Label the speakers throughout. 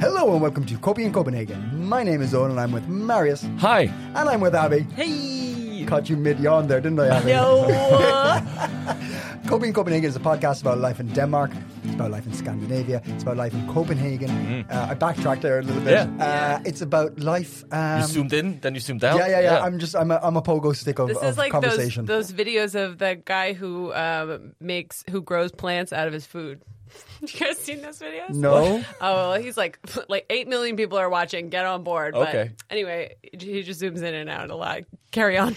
Speaker 1: Hello and welcome to Copy in Copenhagen. My name is Owen and I'm with Marius.
Speaker 2: Hi.
Speaker 1: And I'm with Abby.
Speaker 3: Hey.
Speaker 1: Caught you mid yawn there, didn't I, Abby?
Speaker 3: No.
Speaker 1: Copy in Copenhagen is a podcast about life in Denmark. It's about life in Scandinavia. It's about life in Copenhagen. Uh, I backtracked there a little bit.
Speaker 2: Mm. Yeah.
Speaker 1: Uh, it's It's about life. Um,
Speaker 2: You zoomed in, then you zoomed out.
Speaker 1: yeah, yeah, yeah, I'm just I'm a, I'm a pogo stick of,
Speaker 3: this
Speaker 1: of
Speaker 3: is like those,
Speaker 1: conversation.
Speaker 3: those videos of the guy who um, makes who grows plants out of his food. you guys seen those videos?
Speaker 1: No.
Speaker 3: Oh, well, he's like like eight million people are watching. Get on board. But
Speaker 2: Okay.
Speaker 3: Anyway, he just zooms in and out a lot. Carry on.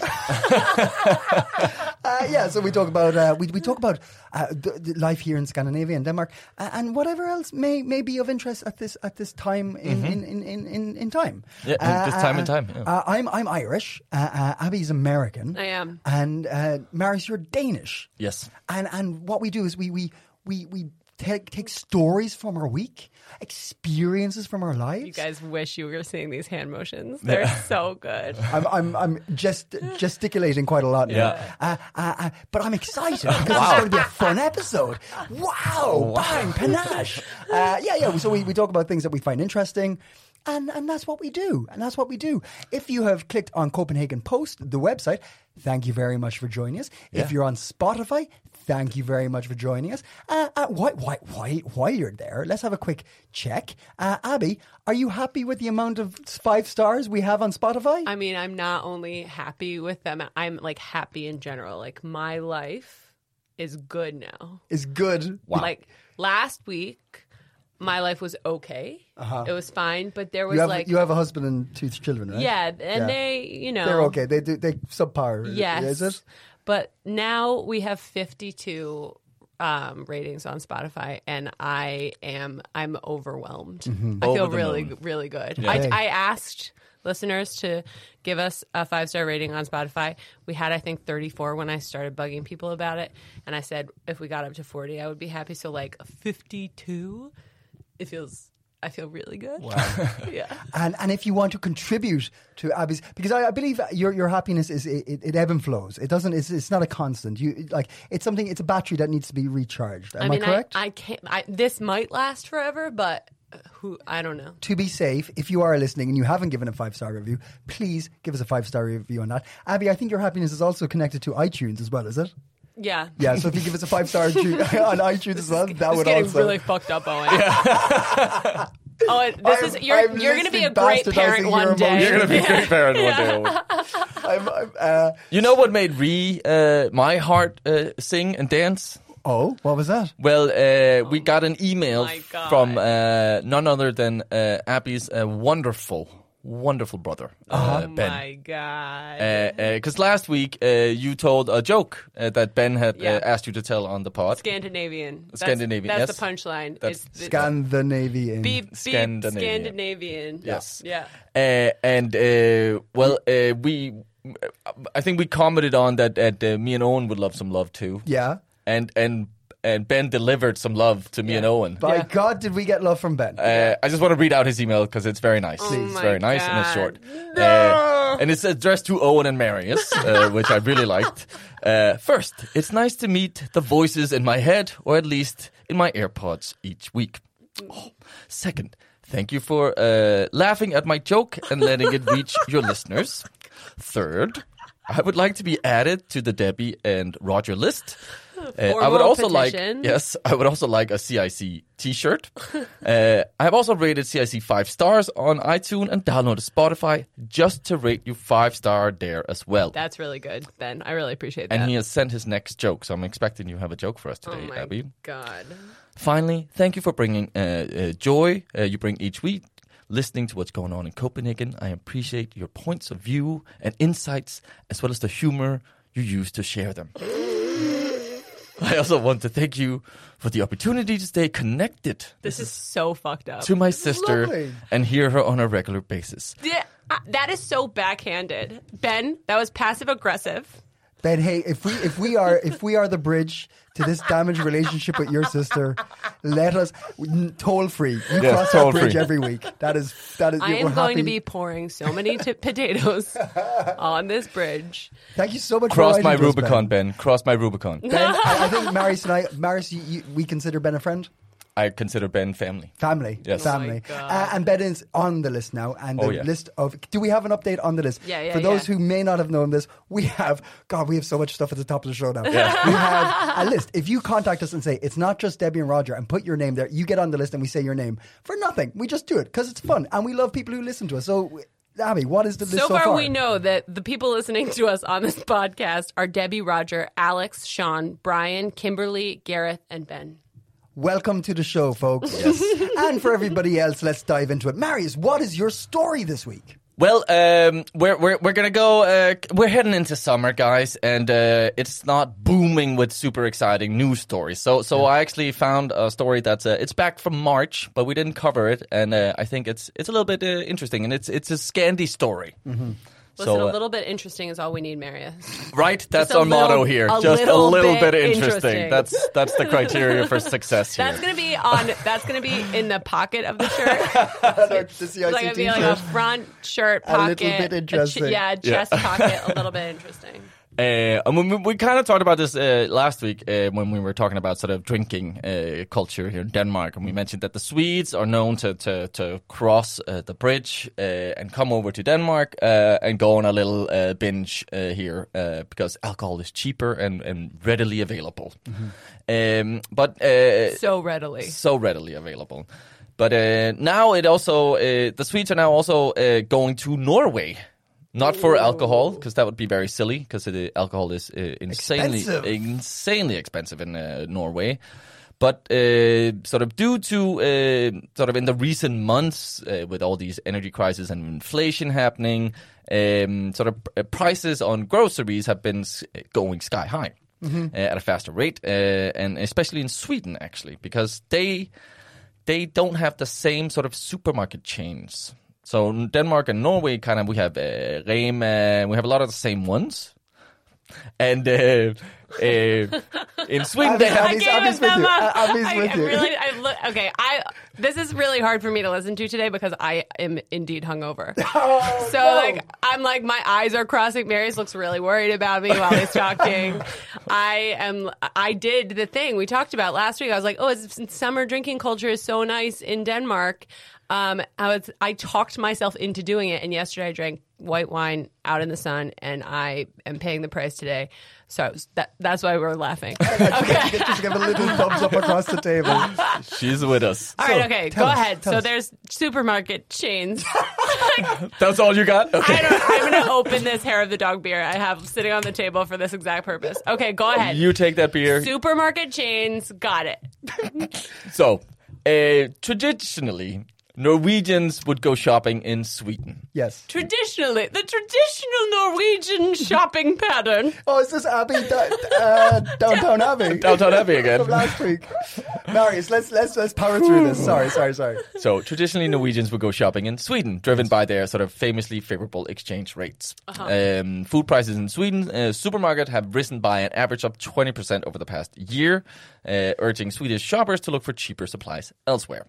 Speaker 1: Uh, yeah, so we talk about uh, we, we talk about uh, the, the life here in Scandinavia and Denmark uh, and whatever else may, may be of interest at this at this time in in, in, in, in, in time.
Speaker 2: Mm-hmm. Yeah, this time in time, yeah.
Speaker 1: Uh, I'm I'm Irish. Uh, uh, Abby's American.
Speaker 3: I am.
Speaker 1: And uh, Marius, you're Danish.
Speaker 2: Yes.
Speaker 1: And and what we do is we we we we take take stories from our week, experiences from our lives.
Speaker 3: you guys wish you were seeing these hand motions. They're so good.
Speaker 1: I'm I'm I'm gest- gesticulating quite a lot now.
Speaker 2: Yeah.
Speaker 1: Uh, uh, uh, but I'm excited because it's going to be a fun episode. Wow! Bang! Panache! Uh, yeah, yeah. So we, we talk about things that we find interesting. And, and that's what we do. And that's what we do. If you have clicked on Copenhagen Post, the website, thank you very much for joining us. If
Speaker 2: Yeah.
Speaker 1: you're on Spotify, thank you very much for joining us. Uh, uh, why, why, why, while you're there, let's have a quick check. Uh, Abby, are you happy with the amount of five stars we have on Spotify?
Speaker 3: I mean, I'm not only happy with them. I'm like happy in general. Like my life is good now.
Speaker 1: is good.
Speaker 3: Like last week, my life was okay. It was fine, but there
Speaker 1: Uh-huh.
Speaker 3: was
Speaker 1: You have,
Speaker 3: like
Speaker 1: you have a husband and two children, right?
Speaker 3: yeah, and they you know
Speaker 1: they're okay. They do they subpar. is-
Speaker 3: Yes,
Speaker 1: is it?
Speaker 3: but now we have 52 um, ratings on Spotify, and I am I'm overwhelmed.
Speaker 1: Mm-hmm.
Speaker 3: I feel
Speaker 2: Over the
Speaker 3: really
Speaker 2: moon.
Speaker 3: really good. I, I asked listeners to give us a five star rating on Spotify. We had I think 34 when I started bugging people about it, and I said if we got up to 40, I would be happy. So like 52, it feels. I feel really good. yeah.
Speaker 1: And and if you want to contribute to Abby's, because I, I believe your your happiness is it, it, it ebb and flows. It doesn't. It's, it's not a constant. You like it's something. It's a battery that needs to be recharged. Am I, correct?
Speaker 3: I, can't. I, this might last forever, but who? I don't know.
Speaker 1: to be safe, if you are listening and you haven't given a five star review, please give us a five star review on that. Abby, I think your happiness is also connected to iTunes as well, is it?
Speaker 3: Yeah.
Speaker 1: Yeah. So if you give us a five star review on iTunes as well, that
Speaker 3: This is
Speaker 1: would
Speaker 3: getting
Speaker 1: also
Speaker 3: really fucked up, Owen. Oh, it- this is
Speaker 1: I'm-
Speaker 3: you're
Speaker 1: I'm
Speaker 3: you're going to be a
Speaker 1: literally
Speaker 3: great
Speaker 1: bastardizing
Speaker 3: parent
Speaker 1: your
Speaker 3: one day. Oh
Speaker 1: emotions.
Speaker 2: You're gonna be a great parent one day. Owen.
Speaker 1: I'm, I'm, uh,
Speaker 2: You know what made re uh, my heart uh, sing and dance?
Speaker 1: oh, what was that?
Speaker 2: Well, uh, we got an email
Speaker 3: Oh my God.
Speaker 2: from uh, none other than uh, Abby's uh, wonderful, wonderful brother
Speaker 1: Uh-huh.
Speaker 2: uh, Ben.
Speaker 3: Oh My God.
Speaker 2: Because last week uh, you told a joke uh, that Ben had
Speaker 3: Yeah.
Speaker 2: uh, asked you to tell on the pod.
Speaker 3: Scandinavian. That's,
Speaker 2: Scandinavian,
Speaker 3: That's
Speaker 2: yes.
Speaker 3: the punchline.
Speaker 2: That's
Speaker 3: it's the,
Speaker 1: Scandinavian.
Speaker 3: beep, beep,
Speaker 2: Scandinavian.
Speaker 3: Scandinavian.
Speaker 2: Yes.
Speaker 3: Yeah.
Speaker 2: Uh, and uh, well, uh, we, I think we commented on that. That uh, me and Owen would love some love too.
Speaker 1: Yeah.
Speaker 2: And and and Ben delivered some love to me and Owen.
Speaker 1: By
Speaker 3: Yeah.
Speaker 1: God, did we get love from Ben?
Speaker 2: Uh, I just want to read out his email because it's very nice. it's
Speaker 3: Oh my
Speaker 2: very nice and it's
Speaker 3: God.
Speaker 2: short. Uh, and it's addressed to Owen and Marius, uh, which I really liked. Uh, first, it's nice to meet the voices in my head, or at least in my AirPods each week. Oh, second, thank you for uh, laughing at my joke and letting it reach your listeners. Third, I would like to be added to the Debbie and Roger list. Uh, I would
Speaker 3: Formal
Speaker 2: also
Speaker 3: petition.
Speaker 2: like yes, I would also like a CIC T-shirt. uh, I have also rated CIC five stars on iTunes and downloaded Spotify just to rate you five star there as well.
Speaker 3: That's really good, Ben. I really appreciate that.
Speaker 2: and he has sent his next joke, so I'm expecting you have a joke for us
Speaker 3: oh
Speaker 2: today,
Speaker 3: my
Speaker 2: Abby.
Speaker 3: God.
Speaker 2: Finally, thank you for bringing uh, uh, joy uh, you bring each week. Listening to what's going on in Copenhagen, I appreciate your points of view and insights, as well as the humor you use to share them. I also want to thank you for the opportunity to stay connected
Speaker 3: This is so fucked up.
Speaker 2: to my sister
Speaker 1: Lovely.
Speaker 2: and hear her on a regular basis.
Speaker 3: Yeah, I- that is so backhanded, Ben. That was passive aggressive.
Speaker 1: Ben, hey, if we if we are if we are the bridge to this damaged relationship with your sister, let us n- toll free. You
Speaker 2: Yes,
Speaker 1: cross that
Speaker 2: toll
Speaker 1: bridge
Speaker 2: free.
Speaker 1: every week. That is that is.
Speaker 3: I
Speaker 1: we're
Speaker 3: am going to
Speaker 1: happy.
Speaker 3: be pouring so many t- potatoes on this bridge.
Speaker 1: Thank you so much.
Speaker 2: Cross
Speaker 1: for
Speaker 2: my
Speaker 1: writing to us, Ben.
Speaker 2: Rubicon, Ben. Cross my Rubicon.
Speaker 1: Ben, I, I think Marius and I, Marius, you, you, we consider Ben a friend.
Speaker 2: I consider Ben family.
Speaker 1: Family,
Speaker 2: Yes. Oh my
Speaker 1: family,
Speaker 3: God.
Speaker 1: uh, and Ben is on the list now. And the
Speaker 2: Oh, yeah.
Speaker 1: list of do we have an update on the list?
Speaker 3: Yeah, yeah,
Speaker 1: For those
Speaker 3: yeah.
Speaker 1: who may not have known this, we have God, we have so much stuff at the top of the show now. we have a list. If you contact us and say it's not just Debbie and Roger and put your name there, you get on the list and we say your name for nothing. We just do it because it's fun and we love people who listen to us. So, Abby, what is the list
Speaker 3: so
Speaker 1: so
Speaker 3: far, we know that the people listening to us on this podcast are Debbie, Roger, Alex, Sean, Brian, Kimberly, Gareth, and Ben.
Speaker 1: Welcome to the show, folks. and for everybody else, let's dive into it. Marius, what is your story this week?
Speaker 2: Well, um, we're, we're, we're gonna go. Uh, we're heading into summer, guys, and uh, it's not booming with super exciting news stories. So, so I actually found a story that's uh, it's back from March, but we didn't cover it, and uh, I think it's it's a little bit uh, interesting, and it's it's a Scandi story.
Speaker 3: Listen,
Speaker 2: So,
Speaker 3: a
Speaker 2: uh,
Speaker 3: little bit interesting is all we need, Maria.
Speaker 2: Right, that's
Speaker 3: a
Speaker 2: our motto
Speaker 3: little-
Speaker 2: here.
Speaker 3: a
Speaker 2: Just
Speaker 3: little
Speaker 2: a little
Speaker 3: bit
Speaker 2: bit, interesting.
Speaker 3: interesting.
Speaker 2: That's that's the criteria for success here.
Speaker 3: That's gonna be on. That's gonna be in the pocket of the shirt.
Speaker 1: The CIC
Speaker 3: It's like gonna be like a
Speaker 1: t-shirt.
Speaker 3: front shirt
Speaker 1: A little bit
Speaker 3: pocket, ch-
Speaker 1: interesting.
Speaker 3: yeah, a chest pocket, a little bit interesting.
Speaker 2: Uh, and we, we kind of talked about this uh, last week uh, when we were talking about sort of drinking uh, culture here in Denmark, and we mentioned that the Swedes are known to to, to cross uh, the bridge uh, and come over to Denmark uh, and go on a little uh, binge uh, here uh, because alcohol is cheaper and, and readily available. Um, but uh,
Speaker 3: So readily.
Speaker 2: so readily available. But uh, now it also uh, the Swedes are now also uh, going to Norway, not for alcohol because that would be very silly because the alcohol is uh, insanely
Speaker 1: Expensive.
Speaker 2: insanely expensive in uh, Norway. But uh, sort of due to uh, sort of in the recent months uh, with all these energy crises and inflation happening, um, sort of uh, prices on groceries have been s- going sky high uh, at a faster rate, uh, and especially in Sweden actually because they they don't have the same sort of supermarket chains. So in Denmark and Norway, kind of, we have uh, Rema, we have a lot of the same ones. And uh, uh, in Sweden, they
Speaker 1: I
Speaker 3: I
Speaker 2: have.
Speaker 1: Abby's-
Speaker 3: gave
Speaker 1: Abby's
Speaker 3: it
Speaker 1: with
Speaker 3: them
Speaker 1: you.
Speaker 3: up.
Speaker 1: Uh, Abby's
Speaker 3: I,
Speaker 1: with
Speaker 3: I
Speaker 1: you.
Speaker 3: really, I look, okay. I this is really hard for me to listen to today because I am indeed hungover.
Speaker 1: Oh,
Speaker 3: so like I'm like my eyes are crossing. Mary's looks really worried about me while he's talking. I am. I did the thing we talked about last week. I was like, oh, it's, summer drinking culture is so nice in Denmark. Um, I was I talked myself into doing it, and yesterday I drank white wine out in the sun, and I am paying the price today. So I was, that, that's why we're laughing. okay.
Speaker 1: Just give a little thumbs up across the table.
Speaker 2: She's with us.
Speaker 3: All right, okay, go
Speaker 1: tell us,
Speaker 3: ahead.
Speaker 1: tell
Speaker 3: So
Speaker 1: us.
Speaker 3: there's supermarket chains.
Speaker 2: That's all you got. Okay.
Speaker 3: I don't, I'm going to open this hair of the dog beer I have sitting on the table for this exact purpose. Okay, go ahead.
Speaker 2: You take that beer.
Speaker 3: supermarket chains, got it.
Speaker 2: So uh, traditionally, Norwegians would go shopping in Sweden.
Speaker 1: Yes.
Speaker 3: Traditionally, the traditional Norwegian shopping pattern.
Speaker 1: Oh, is this Abbey da- uh, downtown Abbey?
Speaker 2: Downtown Abbey again.
Speaker 1: From last week. Marius, let's let's let's power through this. Sorry, sorry, sorry.
Speaker 2: So traditionally, Norwegians would go shopping in Sweden, driven by their sort of famously favorable exchange rates. Um, food prices in Sweden uh, supermarket have risen by an average of twenty percent over the past year, uh, urging Swedish shoppers to look for cheaper supplies elsewhere.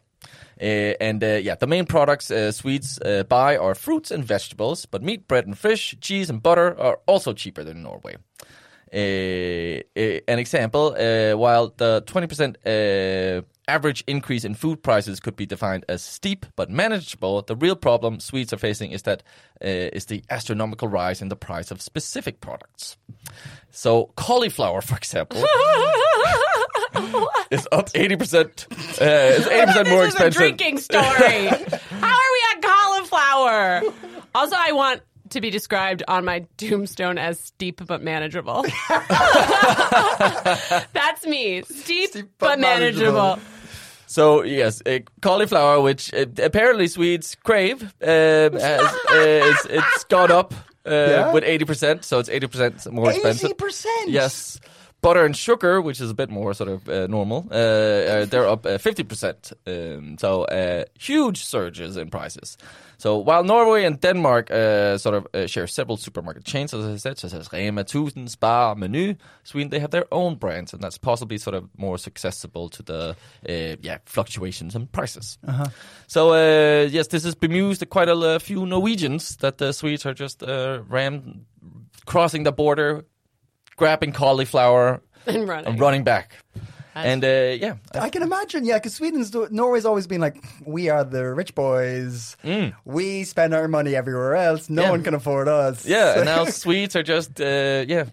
Speaker 2: Uh, and uh, yeah, the main products uh, Swedes uh, buy are fruits and vegetables, but meat, bread, and fish, cheese, and butter are also cheaper than Norway. Uh, uh, an example, uh, while the 20% uh, average increase in food prices could be defined as steep but manageable, the real problem Swedes are facing is that uh, is the astronomical rise in the price of specific products. So cauliflower, for example, is up 80%. Uh, it's 80% more
Speaker 3: this is a
Speaker 2: expensive.
Speaker 3: drinking story. How are we at cauliflower? Also, I want to be described on my tombstone as steep but manageable. That's me, steep,
Speaker 1: but
Speaker 3: but,
Speaker 1: manageable.
Speaker 3: manageable.
Speaker 2: So yes, uh, cauliflower, which uh, apparently Swedes crave, um, has, uh, it's, it's gone up uh,
Speaker 1: Yeah?
Speaker 2: with eighty percent. So it's eighty percent more expensive.
Speaker 1: 80%?
Speaker 2: Yes, Butter and sugar, which is a bit more sort of uh, normal, uh, uh, they're up fifty percent. Um, so uh, huge surges in prices. So while Norway and Denmark uh, sort of uh, share several supermarket chains, as I said, such as Rema 1000, Spar, Menu, Sweden, they have their own brands, and that's possibly sort of more susceptible to the uh, yeah fluctuations in prices. So uh, yes, this has bemused quite a l- few Norwegians that the Swedes are just uh, ram crossing the border, grabbing cauliflower
Speaker 3: And running.
Speaker 2: and running back. And uh, yeah,
Speaker 1: I can imagine, yeah, because Sweden's do- Norway's always been like, we are the rich boys. We spend our money everywhere else. No
Speaker 2: Mm. Yeah.
Speaker 1: one can afford us.
Speaker 2: yeah. And now Swedes are just uh, yeah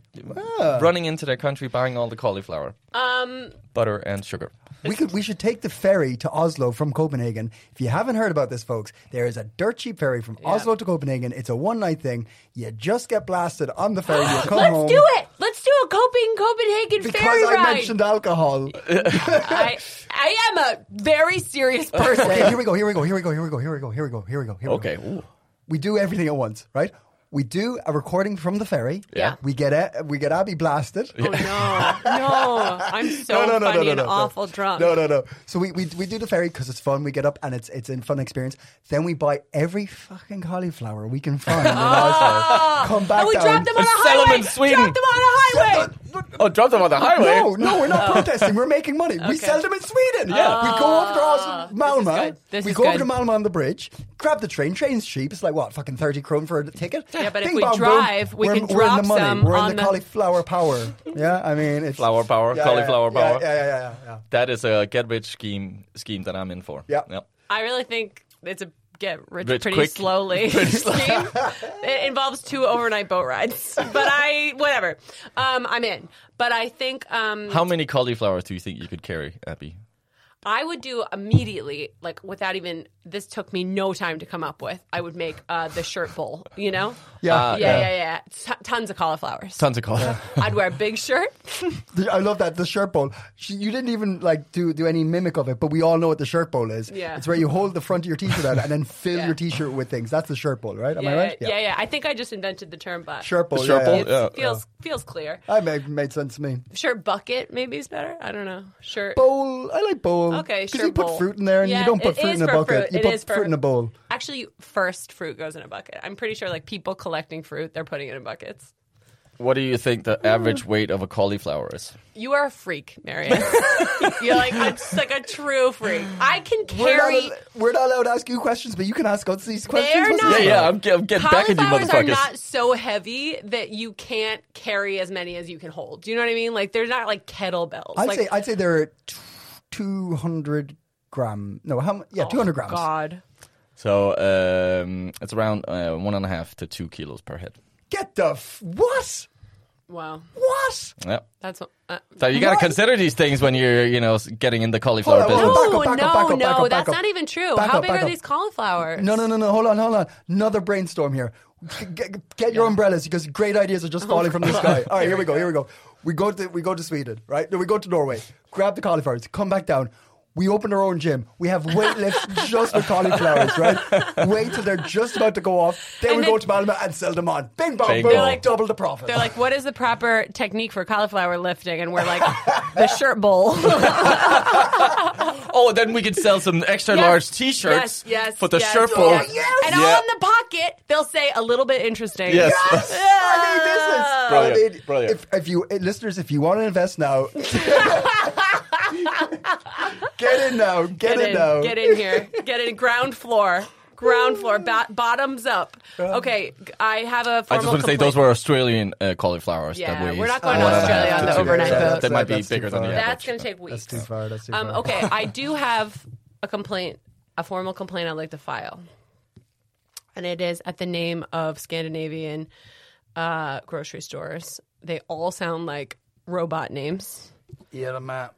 Speaker 2: running into their country buying all the cauliflower,
Speaker 3: Um,
Speaker 2: butter, and sugar.
Speaker 1: we could we should take the ferry to Oslo from Copenhagen. If you haven't heard about this, folks, there is a dirt cheap ferry from Oslo to Copenhagen. It's a one night thing. You just get blasted on the ferry. You come
Speaker 3: let's
Speaker 1: home.
Speaker 3: do it. Let's do a coping Copenhagen
Speaker 1: Because
Speaker 3: ferry
Speaker 1: I
Speaker 3: ride.
Speaker 1: mentioned alcohol.
Speaker 3: I, I am a very serious
Speaker 1: Okay,
Speaker 3: person.
Speaker 1: here we go. Here we go. Here we go. Here we go. Here we go. Here we go. Here we go. Here we
Speaker 2: Okay.
Speaker 1: go.
Speaker 2: Ooh.
Speaker 1: we do everything at once, right? We do a recording from the ferry.
Speaker 3: Yeah.
Speaker 1: We get a, we get Abby blasted.
Speaker 3: oh no, no! I'm so funny and awful drunk.
Speaker 1: No, no, no. So we, we, we do the ferry because it's fun. We get up and it's it's a fun experience. Then we buy every fucking cauliflower we can find. in Oslo. Come back
Speaker 3: Ah! and Oh, we
Speaker 1: down.
Speaker 3: dropped them on a
Speaker 2: And sell 'em
Speaker 3: highway.
Speaker 2: in Sweden.
Speaker 3: Dropped them on a highway.
Speaker 2: Oh, drop them on the highway.
Speaker 1: No, no, we're
Speaker 3: Oh.
Speaker 1: not protesting. We're making money. We sell them in Sweden. Yeah. We go over to Oslo, Malmo.
Speaker 3: good. Ah. This
Speaker 1: we
Speaker 3: is
Speaker 1: go over to
Speaker 3: good.
Speaker 1: Malmo on the bridge, grab the train. Train's cheap. It's like, what, fucking 30 krone for a ticket?
Speaker 3: Yeah, but if
Speaker 1: Bing,
Speaker 3: we
Speaker 1: bong, boom.
Speaker 3: drive, we
Speaker 1: We're-
Speaker 3: can
Speaker 1: We're in the
Speaker 3: drop
Speaker 1: money.
Speaker 3: some
Speaker 1: we're in
Speaker 3: on
Speaker 1: the,
Speaker 3: the-
Speaker 1: cauliflower power. Yeah, I mean, it's.
Speaker 2: Flower power,
Speaker 1: Yeah, yeah,
Speaker 2: cauliflower
Speaker 1: yeah,
Speaker 2: power.
Speaker 1: Yeah, yeah, yeah, yeah.
Speaker 2: That is a get rich scheme scheme that I'm in for.
Speaker 1: Yeah.
Speaker 3: I really think it's a get rich,
Speaker 2: Rich
Speaker 3: pretty
Speaker 2: quick.
Speaker 3: slowly scheme. it involves two overnight boat rides, but I whatever. Um, I'm in, but I think um,
Speaker 2: How many cauliflowers do you think you could carry, Abby?
Speaker 3: I would do immediately, like without even. This took me no time to come up with. I would make uh, the shirt bowl. You know?
Speaker 1: Yeah.
Speaker 3: yeah, yeah, yeah. T- tons of cauliflowers.
Speaker 2: Tons of cauliflower.
Speaker 3: I'd wear a big shirt.
Speaker 1: The- I love that the shirt bowl. She, you didn't even like do do any mimic of it, but we all know what the shirt bowl is.
Speaker 3: Yeah.
Speaker 1: it's where you hold the front of your t-shirt out and then fill
Speaker 3: Yeah.
Speaker 1: your t-shirt with things. That's the shirt bowl, right? Am
Speaker 3: yeah,
Speaker 1: I right?
Speaker 3: yeah. yeah, I think I just invented the term, but
Speaker 1: Shirt bowl.
Speaker 2: The
Speaker 1: yeah,
Speaker 2: shirt bowl,
Speaker 1: yeah.
Speaker 3: It
Speaker 2: Yeah,
Speaker 3: feels feels clear.
Speaker 1: I made, made sense to me.
Speaker 3: Shirt bucket maybe is better. I don't know. Shirt.
Speaker 1: Bowl. I like bowl.
Speaker 3: Okay,
Speaker 1: Because
Speaker 3: sure.
Speaker 1: you put
Speaker 3: bowl.
Speaker 1: fruit in there, and
Speaker 3: Yeah,
Speaker 1: you don't put
Speaker 3: it
Speaker 1: fruit
Speaker 3: is
Speaker 1: in a
Speaker 3: for
Speaker 1: bucket.
Speaker 3: Fruit.
Speaker 1: You
Speaker 3: It
Speaker 1: put
Speaker 3: is for-
Speaker 1: fruit in a bowl.
Speaker 3: Actually, first fruit goes in a bucket. I'm pretty sure, like people collecting fruit, they're putting it in buckets.
Speaker 2: What do you think the average weight of a cauliflower is?
Speaker 3: You are a freak, Marius. You're like I'm just like a true freak. I can
Speaker 1: We're not,
Speaker 3: carry.
Speaker 1: al- we're not allowed to ask you questions, but you can ask us these questions.
Speaker 3: They're
Speaker 1: what's
Speaker 3: not-
Speaker 1: this
Speaker 3: Yeah,
Speaker 1: about?
Speaker 2: I'm, ge- I'm getting back at you,
Speaker 3: Cauliflowers are
Speaker 2: motherfuckers.
Speaker 3: not so heavy that you can't carry as many as you can hold. Do you know what I mean? Like they're not like kettlebells.
Speaker 1: I'd
Speaker 3: like,
Speaker 1: say uh, I'd say they're two hundred gram. No, how? mu- Yeah, two hundred grams.
Speaker 3: oh, God.
Speaker 2: So um, it's around uh, one and a half to two kilos per head.
Speaker 1: Get the f- what?
Speaker 3: Wow.
Speaker 1: What?
Speaker 2: Yeah.
Speaker 3: That's what- uh,
Speaker 2: So you gotta
Speaker 1: What?
Speaker 2: consider these things when you're, you know, s- getting in the cauliflower
Speaker 1: Hold on,
Speaker 2: business.
Speaker 1: hold on.
Speaker 3: no,
Speaker 1: back up, back
Speaker 3: no,
Speaker 1: up, back up,
Speaker 3: no.
Speaker 1: back up,
Speaker 3: that's
Speaker 1: back
Speaker 3: not
Speaker 1: up.
Speaker 3: even true.
Speaker 1: Back
Speaker 3: How
Speaker 1: up,
Speaker 3: big
Speaker 1: back
Speaker 3: are
Speaker 1: up.
Speaker 3: these cauliflowers?
Speaker 1: No, no, no, no. Hold on, hold on. Another brainstorm here. Get, get your umbrellas because great ideas are just falling from the sky. All right, here we go. Here we go. We go to we go to Sweden, right? No, we go to Norway. Grab the cauliflowers. Come back down. We open our own gym. We have weight lifts just with cauliflowers, right? Wait till they're just about to go off. Then
Speaker 3: And
Speaker 1: we
Speaker 3: then-
Speaker 1: go to Malmo and sell them on. Bing, bong,
Speaker 2: Bing,
Speaker 1: boom.
Speaker 2: They're like-
Speaker 1: double the profit.
Speaker 3: They're like, what is the proper technique for cauliflower lifting? And we're like, the shirt bowl.
Speaker 2: Oh, then we could sell some extra
Speaker 3: Yes,
Speaker 2: large T-shirts
Speaker 3: yes, yes,
Speaker 2: for the
Speaker 3: yes,
Speaker 2: shirt
Speaker 3: yes.
Speaker 2: bowl.
Speaker 3: And all in the pocket, they'll say a little bit interesting.
Speaker 2: Yes.
Speaker 1: Yes! I mean, this is
Speaker 2: Brilliant,
Speaker 1: I mean,
Speaker 2: brilliant.
Speaker 1: If, if you eh, listeners, if you want to invest now, get in now, get,
Speaker 3: Get
Speaker 1: in,
Speaker 3: in,
Speaker 1: now.
Speaker 3: get in here. Get in ground floor. Ground floor, ba- bottoms up.
Speaker 1: Uh-huh.
Speaker 3: Okay, g- I have a
Speaker 2: I
Speaker 3: formal
Speaker 2: just want to say
Speaker 3: complaint.
Speaker 2: those were Australian uh, cauliflowers. that
Speaker 3: Yeah,
Speaker 2: we
Speaker 3: we're not going
Speaker 1: to
Speaker 2: one and a
Speaker 1: Australia on
Speaker 2: half to
Speaker 1: the
Speaker 2: two.
Speaker 1: overnight
Speaker 2: Yeah,
Speaker 1: boat.
Speaker 2: That might be
Speaker 1: That's too
Speaker 2: bigger than the
Speaker 1: far.
Speaker 2: average.
Speaker 3: That's going to take
Speaker 1: That's
Speaker 3: weeks.
Speaker 1: too far. That's too
Speaker 3: Um,
Speaker 1: far.
Speaker 3: okay, I do have a complaint, a formal complaint I'd like to file. And it is at the name of Scandinavian uh, grocery stores. They all sound like robot names.
Speaker 1: Yeah, the map.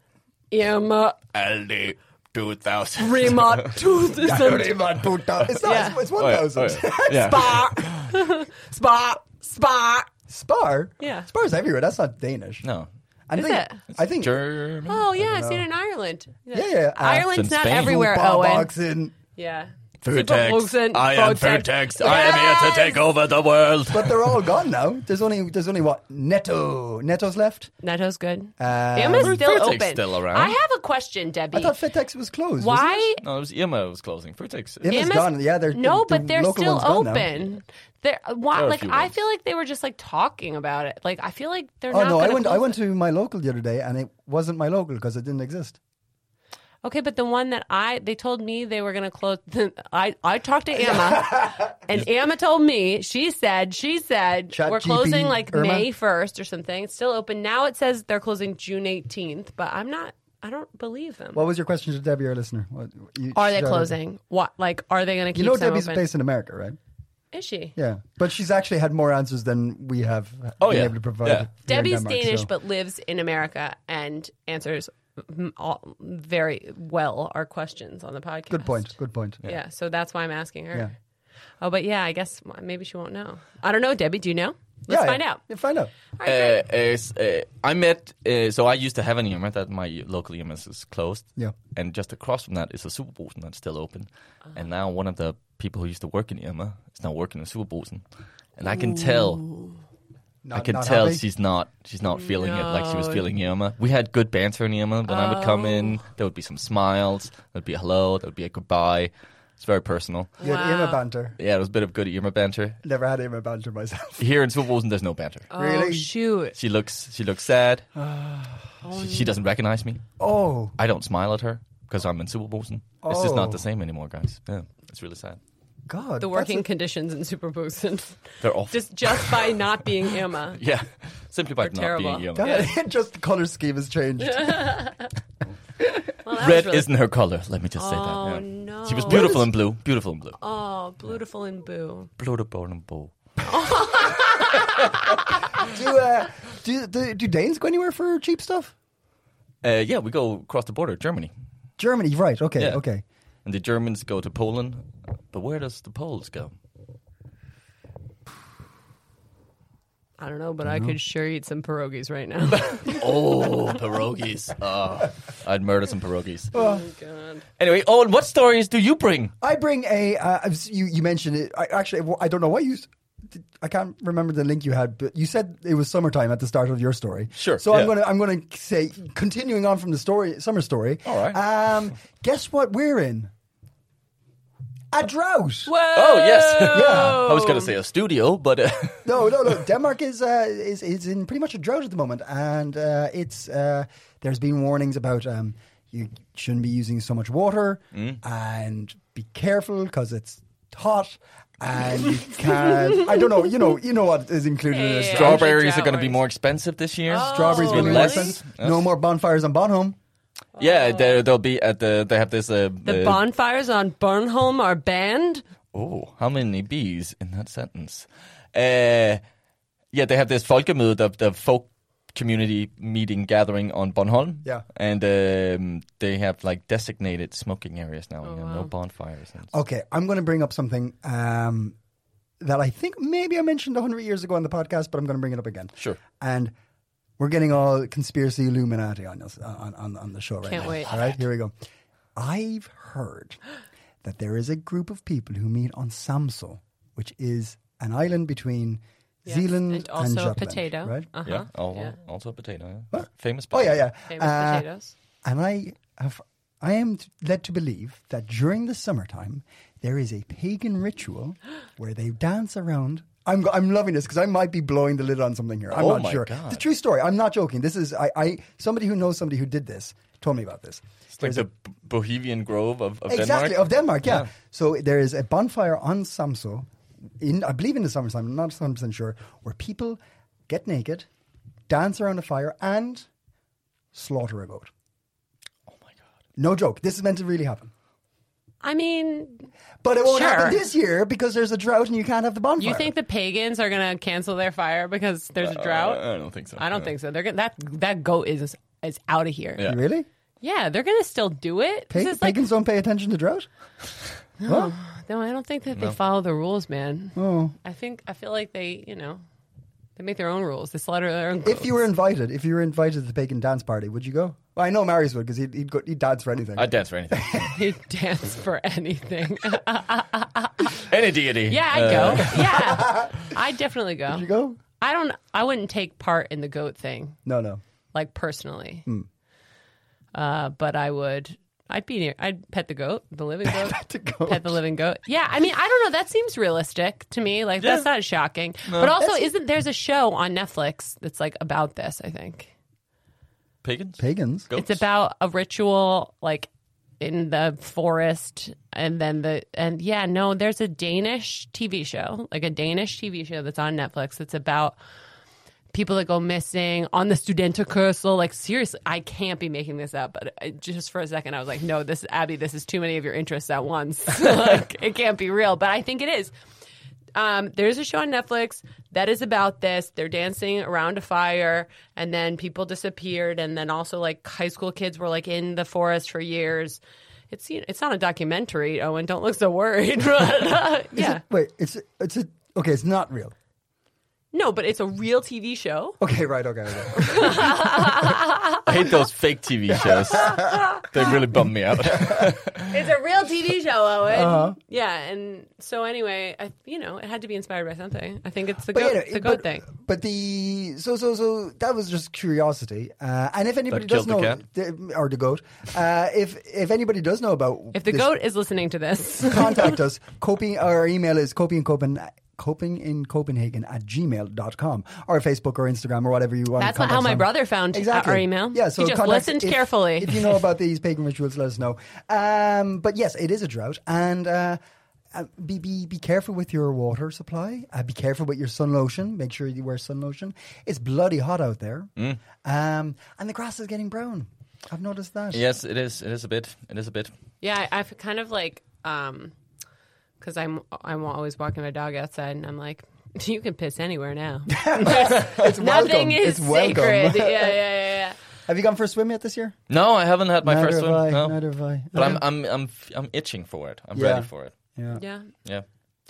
Speaker 3: Irma,
Speaker 2: Aldi 2000.
Speaker 3: Rima,
Speaker 1: Dirty
Speaker 3: 2000,
Speaker 1: man, put down. It's not.
Speaker 3: Yeah.
Speaker 1: It's, it's
Speaker 2: Oh,
Speaker 1: one
Speaker 2: yeah,
Speaker 1: thousand.
Speaker 2: oh, yeah. Yeah.
Speaker 3: Spar, Spar, Spar.
Speaker 1: Spar.
Speaker 3: Yeah.
Speaker 1: Spar's everywhere. That's not Danish.
Speaker 2: No.
Speaker 1: I
Speaker 3: Is
Speaker 1: think.
Speaker 3: it?
Speaker 1: I think.
Speaker 2: German.
Speaker 3: Ah, Oh, yeah, I've seen it in Ireland.
Speaker 1: Yeah, yeah, uh,
Speaker 3: Ireland's
Speaker 2: It's in
Speaker 3: not
Speaker 2: Spain.
Speaker 3: everywhere, Owen.
Speaker 1: Boxing.
Speaker 3: Yeah.
Speaker 2: Food
Speaker 3: Super
Speaker 2: tax.
Speaker 3: Rosen,
Speaker 2: I am
Speaker 3: food
Speaker 2: food
Speaker 3: tax.
Speaker 2: tax. I am here to take over the world.
Speaker 1: But they're all gone now. There's only there's only what Neto Neto's left.
Speaker 3: Neto's good.
Speaker 1: Uh,
Speaker 3: Emma's still
Speaker 2: Vertex
Speaker 3: open.
Speaker 2: still around.
Speaker 3: I have a question, Debbie.
Speaker 1: Um, I thought Fitex was closed. wasn't
Speaker 3: Why?
Speaker 2: No, it was Irma was closing. Food tax.
Speaker 1: it? Emma's
Speaker 3: Emma's-
Speaker 1: gone. Yeah, they're
Speaker 3: no,
Speaker 1: the-
Speaker 3: but
Speaker 1: the
Speaker 3: they're
Speaker 1: local
Speaker 3: still
Speaker 1: one's gone now.
Speaker 3: open. They're why?
Speaker 2: There are Oh, a
Speaker 3: like
Speaker 2: few
Speaker 3: I
Speaker 2: ones.
Speaker 3: feel like they were just like talking about it. Like I feel like they're
Speaker 1: Oh
Speaker 3: not.
Speaker 1: no, I
Speaker 3: gonna
Speaker 1: went. I
Speaker 3: close
Speaker 1: went
Speaker 3: it.
Speaker 1: to my local the other day, and it wasn't my local because it didn't exist.
Speaker 3: Okay, but the one that I they told me they were going to close. I I talked to Emma, and Emma told me she said she said
Speaker 1: Chat
Speaker 3: we're
Speaker 1: GP,
Speaker 3: closing like
Speaker 1: Irma?
Speaker 3: May first or something. It's still open now. It says they're closing June eighteenth, but I'm not. I don't believe them.
Speaker 1: What was your question to Debbie, our listener? What, you,
Speaker 3: are they
Speaker 1: she's out of-
Speaker 3: closing? What like are they going to
Speaker 1: You
Speaker 3: keep
Speaker 1: know,
Speaker 3: some
Speaker 1: Debbie's
Speaker 3: open?
Speaker 1: based in America, right?
Speaker 3: Is she?
Speaker 1: Yeah, but she's actually had more answers than we have uh,
Speaker 2: Oh,
Speaker 1: been
Speaker 2: yeah.
Speaker 1: able to provide.
Speaker 2: Yeah.
Speaker 1: here in
Speaker 3: Debbie's
Speaker 1: Denmark,
Speaker 3: Danish,
Speaker 1: so-
Speaker 3: but lives in America and answers mm, all, very well our questions on the podcast.
Speaker 1: good point. Good point.
Speaker 3: Yeah. so that's why I'm asking her.
Speaker 1: Yeah.
Speaker 3: Oh, but yeah, I guess m- maybe she won't know. I don't know, Debbie. Do you know? Let's
Speaker 1: Yeah,
Speaker 3: find
Speaker 1: yeah.
Speaker 3: out.
Speaker 1: Yeah, find out.
Speaker 3: All right,
Speaker 2: Uh, is, uh, I met, uh, so I used to have an EMS that my local EMS is closed.
Speaker 1: Yeah. Ah.
Speaker 2: And just across from that is a Superbosen that's still open. And now one of the people who used to work in EMA is now working in Superbosen. And I can tell,
Speaker 1: Not,
Speaker 2: I can
Speaker 1: not
Speaker 2: tell
Speaker 1: happy?
Speaker 2: she's not, she's not feeling it like she was feeling EMA. We had good banter in EMA. When I would come in,
Speaker 1: Oh.
Speaker 2: there would be some smiles, there'd be a hello, there'd be a goodbye. It's very personal.
Speaker 1: You had
Speaker 3: Wow.
Speaker 1: Emma banter.
Speaker 2: Yeah, it was a bit of good EMA banter.
Speaker 1: Never had Emma banter myself.
Speaker 2: Here in Superbosen, there's no banter.
Speaker 3: good. Oh,
Speaker 1: really?
Speaker 3: shoot.
Speaker 2: She looks, she looks sad. she, she doesn't recognize me.
Speaker 1: Oh,
Speaker 2: I don't smile at her because I'm in Superbosen. It's just
Speaker 1: Oh.
Speaker 2: not the same anymore, guys. Yeah, it's really sad.
Speaker 1: God.
Speaker 3: The
Speaker 1: that's
Speaker 3: working
Speaker 1: a-
Speaker 3: conditions in Superbosen.
Speaker 2: They're awful.
Speaker 3: just just by not being Emma.
Speaker 2: yeah, simply by not
Speaker 3: They're terrible.
Speaker 2: being young.
Speaker 1: God, just the color scheme has changed.
Speaker 3: Well, that was
Speaker 2: Red
Speaker 3: really-
Speaker 2: isn't her color. Let me just say that.
Speaker 3: Oh,
Speaker 2: yeah.
Speaker 3: no.
Speaker 2: She was beautiful in blue. Beautiful in blue.
Speaker 3: Oh, beautiful and boo.
Speaker 2: Beautiful in blue.
Speaker 1: do, uh, do, do do Danes go anywhere for cheap stuff?
Speaker 2: Uh, yeah, we go across the border, Germany,
Speaker 1: Germany, right? Okay,
Speaker 2: Yeah.
Speaker 1: okay.
Speaker 2: and the Germans go to Poland. But where does the Poles go?
Speaker 3: I don't know, but I could sure eat some pierogies right now.
Speaker 2: Oh, pierogies. Oh, I'd murder some pierogies.
Speaker 3: oh, God.
Speaker 2: Anyway, Owen, what stories do you bring?
Speaker 1: I bring a. Uh, I've s- you you mentioned it. I, actually, I don't know why you. s- did- I can't remember the link you had, but you said it was summertime at the start of your story.
Speaker 2: Sure,
Speaker 1: So I'm
Speaker 2: yeah.
Speaker 1: gonna I'm gonna say continuing on from the story summer story.
Speaker 2: All right.
Speaker 1: Um, guess what we're in? A drought.
Speaker 3: Whoa.
Speaker 2: Oh yes,
Speaker 1: Yeah. Oh.
Speaker 2: I was gonna say a studio, but uh,
Speaker 1: No, no, no. Denmark is uh, is is in pretty much a drought at the moment, and uh, it's uh, there's been warnings about um, you shouldn't be using so much water, and be careful because it's hot, and you can't. I don't know. You know, you know what is included in this.
Speaker 3: Yeah.
Speaker 1: drought.
Speaker 2: strawberries are gonna be
Speaker 3: Flowers.
Speaker 2: more expensive this year.
Speaker 1: Strawberries
Speaker 3: Oh,
Speaker 1: will be
Speaker 3: really?
Speaker 1: less. No more bonfires on Bonholm.
Speaker 2: Yeah,
Speaker 1: Oh.
Speaker 2: they they'll be at the. They have this. Uh,
Speaker 3: The
Speaker 2: uh,
Speaker 3: bonfires on Burnholm are banned.
Speaker 2: Oh, how many bees in that sentence? Uh, yeah, they have this folkemøde, the, the folk community meeting gathering on Bornholm.
Speaker 1: Yeah.
Speaker 2: and um, they have like designated smoking areas
Speaker 1: Oh,
Speaker 2: now. you know, No bonfires. And
Speaker 1: Okay, I'm going to bring up something um, that I think maybe I mentioned 100 years ago on the podcast, but I'm going to bring it up again.
Speaker 2: Sure.
Speaker 1: And we're getting all conspiracy Illuminati on us on, on, on the show right
Speaker 3: Can't
Speaker 1: now.
Speaker 3: wait.
Speaker 1: All right, here we go. I've heard that there is a group of people who meet on Samso, which is an island between Zealand
Speaker 3: and also
Speaker 1: Jutland,
Speaker 3: potato.
Speaker 1: Right?
Speaker 3: Uh-huh.
Speaker 2: Yeah, al-
Speaker 3: yeah.
Speaker 2: also a potato. yeah. Famous.
Speaker 1: Oh yeah,
Speaker 2: potato.
Speaker 1: yeah.
Speaker 3: Famous
Speaker 1: Uh,
Speaker 3: potatoes.
Speaker 1: and I have, I am t- led to believe that during the summertime there is a pagan ritual where they dance around. I'm, go- I'm loving this because I might be blowing the lid on something here. I'm
Speaker 2: Oh
Speaker 1: not
Speaker 2: my
Speaker 1: sure.
Speaker 2: God.
Speaker 1: It's a true story. I'm not joking. This is I, I somebody who knows somebody who did this told me about this.
Speaker 2: It's like the B- Bohemian Grove of, of
Speaker 1: exactly
Speaker 2: Denmark.
Speaker 1: of Denmark. Yeah. So there is a bonfire on Samso, in I believe in the summertime. I'm not 100 percent sure where people get naked, dance around a fire, and slaughter a goat.
Speaker 2: oh my god.
Speaker 1: No joke. This is meant to really happen.
Speaker 3: I mean,
Speaker 1: But it won't
Speaker 3: Sure.
Speaker 1: happen this year because there's a drought and you can't have the bonfire.
Speaker 3: you think the pagans are going to cancel their fire because there's
Speaker 1: Uh,
Speaker 3: a drought?
Speaker 2: I don't think so.
Speaker 3: I don't
Speaker 2: No.
Speaker 3: think so. They're gonna, that that goat is is out of here.
Speaker 2: Yeah.
Speaker 1: really?
Speaker 3: Yeah, they're going to still do it.
Speaker 1: Pa-
Speaker 3: This is like,
Speaker 1: pagans don't pay attention to drought? Huh? Oh.
Speaker 3: no, I don't think that they follow the rules, man. I think I feel like they, you know, they They make their own rules. They slaughter their own.
Speaker 1: If you were invited, if you were invited to the pagan dance party, would you go? Well, I know Marius would because he'd, he'd, go, he'd dance for anything.
Speaker 2: I'd dance for anything.
Speaker 3: they dance for anything.
Speaker 2: Any deity.
Speaker 3: yeah, I'd go. Yeah, I'd definitely go.
Speaker 1: Uh. Would you go?
Speaker 3: I don't. I wouldn't take part in the goat thing,
Speaker 1: No, no.
Speaker 3: like personally.
Speaker 1: Hmm.
Speaker 3: Uh, but I would. I'd be near. I'd pet the goat, the living goat. pet
Speaker 1: the goat.
Speaker 3: Pet the living goat. Yeah, I mean, I don't know. That seems realistic to me. Like that's not shocking. But also, isn't there's a show on Netflix that's like about this? I think
Speaker 2: Pagans?
Speaker 1: Pagans.
Speaker 2: Goats?
Speaker 3: it's about a ritual like in the forest and then the and yeah no there's a danish tv show like a danish tv show that's on netflix that's about people that go missing on the studentenkursel like seriously i can't be making this up but I- just for a second i was like no this abby this is too many of your interests at once like it can't be real but i think it is um, there's a show on Netflix that is about this. They're dancing around a fire, and then people disappeared, and then also like high school kids were like in the forest for years. It's you know, it's not a documentary, Owen. Don't look so worried. But, uh, yeah,
Speaker 1: Wait, it's it's a okay. It's not real.
Speaker 3: no, but it's a real TV show.
Speaker 1: Okay, right. Okay. okay.
Speaker 2: I hate those fake TV shows. they really bum me out.
Speaker 3: It's a real TV show, Owen.
Speaker 1: Uh-huh.
Speaker 3: Yeah, and so anyway, I, you know, it had to be inspired by something. I think it's the goat,
Speaker 1: yeah, no,
Speaker 3: the
Speaker 1: it-
Speaker 3: goat
Speaker 1: but,
Speaker 3: thing.
Speaker 1: But the so so so that was just curiosity. Uh, and if anybody does
Speaker 2: killed the
Speaker 1: know
Speaker 2: cat?
Speaker 1: the- or the goat, uh, if if anybody does know about
Speaker 3: If the
Speaker 1: this,
Speaker 3: goat is listening to this,
Speaker 1: contact us. Coping our email is coping in Copen, coping in Copenhagen at gmail.com or Facebook or Instagram or whatever you want.
Speaker 3: That's
Speaker 1: to
Speaker 3: what-
Speaker 1: contact
Speaker 3: how
Speaker 1: us
Speaker 3: my
Speaker 1: on.
Speaker 3: brother found our email.
Speaker 1: Yeah, so
Speaker 3: He just
Speaker 1: contact-
Speaker 3: listened
Speaker 1: if-
Speaker 3: carefully.
Speaker 1: If you know about these pagan rituals, let us know. Um, but yes, it is a drought, and uh, uh, be be be careful with your water supply. Uh, be careful with your sun lotion. Make sure you wear sun lotion. It's bloody hot out there,
Speaker 2: Mm.
Speaker 1: um, and the grass is getting brown. I've noticed that.
Speaker 2: yes, it is. It is a bit. It is a bit.
Speaker 3: Yeah, I- I've kind of like, um, because I'm I'm always walking my dog outside, and I'm like, you can piss anywhere now.
Speaker 1: it's welcome.
Speaker 3: Nothing is
Speaker 1: it's welcome.
Speaker 3: sacred. yeah, yeah, yeah, yeah.
Speaker 1: Have you gone for a swim yet this year?
Speaker 2: No, I haven't had my
Speaker 1: neither
Speaker 2: first
Speaker 1: have
Speaker 2: one.
Speaker 1: I,
Speaker 2: no.
Speaker 1: Neither have I.
Speaker 2: But I'm, I'm, I'm, f- I'm itching for it. I'm
Speaker 1: Yeah.
Speaker 2: ready for it.
Speaker 1: yeah.
Speaker 3: Yeah.
Speaker 2: Yeah. And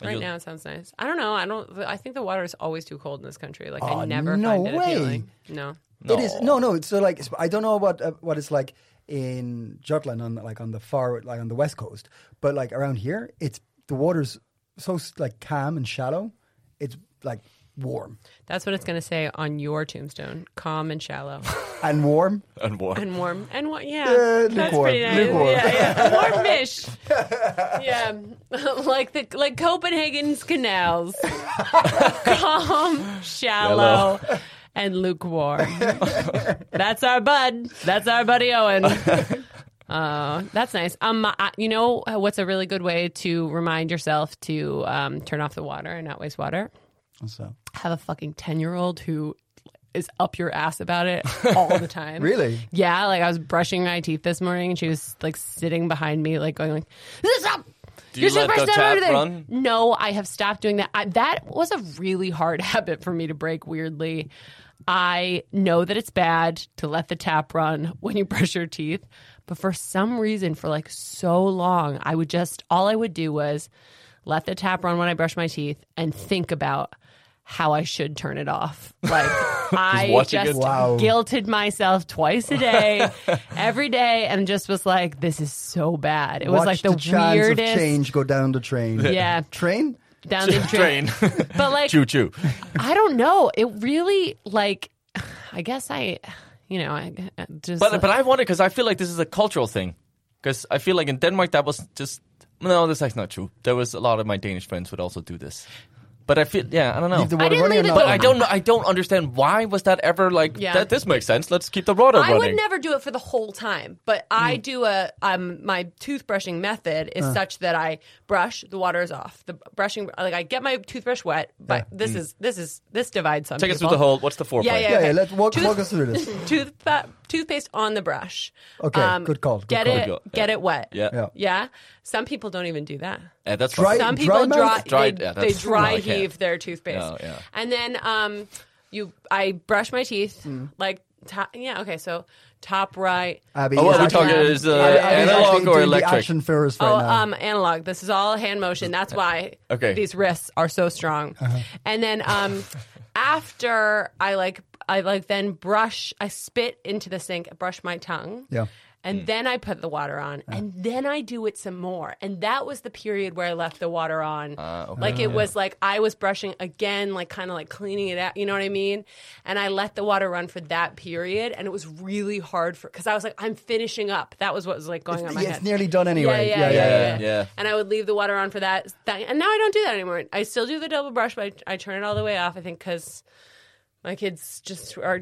Speaker 3: Right
Speaker 2: you-
Speaker 3: now it sounds nice. I don't know. I don't. I think the water is always too cold in this country. Like
Speaker 1: Aw,
Speaker 3: I never
Speaker 1: no
Speaker 3: find it
Speaker 1: way.
Speaker 3: appealing. No.
Speaker 1: It is no, no. It's so like it's- I don't know what uh, what it's like in Jutland on like on the far like on the west coast, but like around here, it's the water's so like calm and shallow. It's like warm
Speaker 3: That's what it's going to say on your tombstone: calm and shallow,
Speaker 1: and warm.
Speaker 2: And what?
Speaker 3: and warm and what? Yeah,
Speaker 1: Yeah,
Speaker 3: that's
Speaker 1: lukewarm,
Speaker 3: pretty nice.
Speaker 1: lukewarm.
Speaker 3: Yeah, yeah. warmish. yeah, like the like Copenhagen's canals, calm, shallow, and lukewarm. that's our bud. That's our buddy Owen. Uh, that's nice. Um, I, you know what's a really good way to remind yourself to um, turn off the water and not waste water?
Speaker 1: So
Speaker 3: have a fucking 10 year old who is up your ass about it all the time.
Speaker 1: Really?
Speaker 3: Yeah. Like I was brushing my teeth this morning and she was like sitting behind me, like going like, this up.
Speaker 2: Do you let the tap run?
Speaker 3: No, I have stopped doing that. I, that was a really hard habit for me to break, weirdly. I know that it's bad to let the tap run when you brush your teeth, but for some reason, for like so long, I would just, all I would do was let the tap run when I brush my teeth and think about how I should turn it off. Like, I
Speaker 2: watching
Speaker 3: just
Speaker 2: it?
Speaker 1: Wow.
Speaker 3: guilted myself twice a day, every day, and just was like, this is so bad. It was
Speaker 1: Watch
Speaker 3: like the,
Speaker 1: chance
Speaker 3: weirdest
Speaker 1: of change go down the train.
Speaker 3: Yeah.
Speaker 1: train.
Speaker 3: down the drain. But like,
Speaker 2: choo choo.
Speaker 3: I don't know. It really like, I guess I, you know, I I just.
Speaker 2: But but I wonder because I feel like this is a cultural thing. Because I feel like in Denmark that was just no, that's actually not true. There was a lot of my Danish friends would also do this. But I feel yeah, I don't know.
Speaker 1: Leave the water
Speaker 3: didn't
Speaker 1: running.
Speaker 3: leave
Speaker 1: or
Speaker 3: it
Speaker 1: not?
Speaker 2: but I don't know. I don't understand why was that ever like
Speaker 3: Yeah.
Speaker 2: that. This makes sense. Let's keep the water
Speaker 3: I
Speaker 2: running.
Speaker 3: would never do it for the whole time, but I
Speaker 1: Mm.
Speaker 3: do a um my toothbrushing method
Speaker 1: Uh.
Speaker 3: is such that I brush the water is off the brushing like I get my toothbrush wet, but this
Speaker 1: Mm.
Speaker 3: is this is this divides some.
Speaker 2: Take us through
Speaker 3: people.
Speaker 2: the whole. What's the foreplay?
Speaker 3: Yeah, yeah,
Speaker 1: Yeah,
Speaker 3: okay.
Speaker 1: yeah, let's walk-
Speaker 3: Tooth-
Speaker 1: walk us through this.
Speaker 3: Tooth, toothpaste on the brush. Um,
Speaker 1: Okay, good call, good
Speaker 3: get
Speaker 1: call.
Speaker 3: it,
Speaker 2: Good call.
Speaker 3: get it wet.
Speaker 2: Yeah.
Speaker 1: Yeah.
Speaker 3: yeah. Some people don't even do that.
Speaker 2: Yeah, that's
Speaker 1: Dry-
Speaker 2: right.
Speaker 3: Some
Speaker 1: dry
Speaker 3: people
Speaker 1: mouth?
Speaker 3: dry,
Speaker 2: Dry-
Speaker 3: they,
Speaker 2: yeah,
Speaker 3: they
Speaker 2: that's- no,
Speaker 3: dry
Speaker 2: I can't.
Speaker 3: heave their toothpaste,
Speaker 2: No, yeah.
Speaker 3: and then um, you I brush my teeth
Speaker 1: Mm.
Speaker 3: like top, yeah okay so top right.
Speaker 1: Abby,
Speaker 2: Oh, what
Speaker 1: is
Speaker 2: are we
Speaker 1: actually-
Speaker 2: talking? Is uh,
Speaker 1: Abby's actually
Speaker 2: analog
Speaker 1: doing
Speaker 2: or
Speaker 1: the
Speaker 2: electric?
Speaker 1: action for us right
Speaker 3: Oh,
Speaker 1: now.
Speaker 3: um, analog. This is all hand motion. That's why
Speaker 2: Okay.
Speaker 1: Uh-huh.
Speaker 3: these wrists are so strong. And then um, after I like I like then brush I spit into the sink, brush my tongue.
Speaker 1: Yeah.
Speaker 3: And then I put the water on, and then I do it some more. And that was the period where I left the water on. Like
Speaker 1: Oh,
Speaker 3: it was like I was brushing again, like kind of like cleaning it out. You know what I mean? And I let the water run for that period, and it was really hard for because I was like, I'm finishing up. That was what was like going on in
Speaker 1: It's,
Speaker 3: my
Speaker 1: yeah,
Speaker 3: head.
Speaker 1: it's nearly done anyway.
Speaker 3: Yeah yeah yeah,
Speaker 2: yeah,
Speaker 3: yeah,
Speaker 2: yeah.
Speaker 3: And I would leave the water on for that thing. And now I don't do that anymore. I still do the double brush, but I, I turn it all the way off, I think, because my kids just are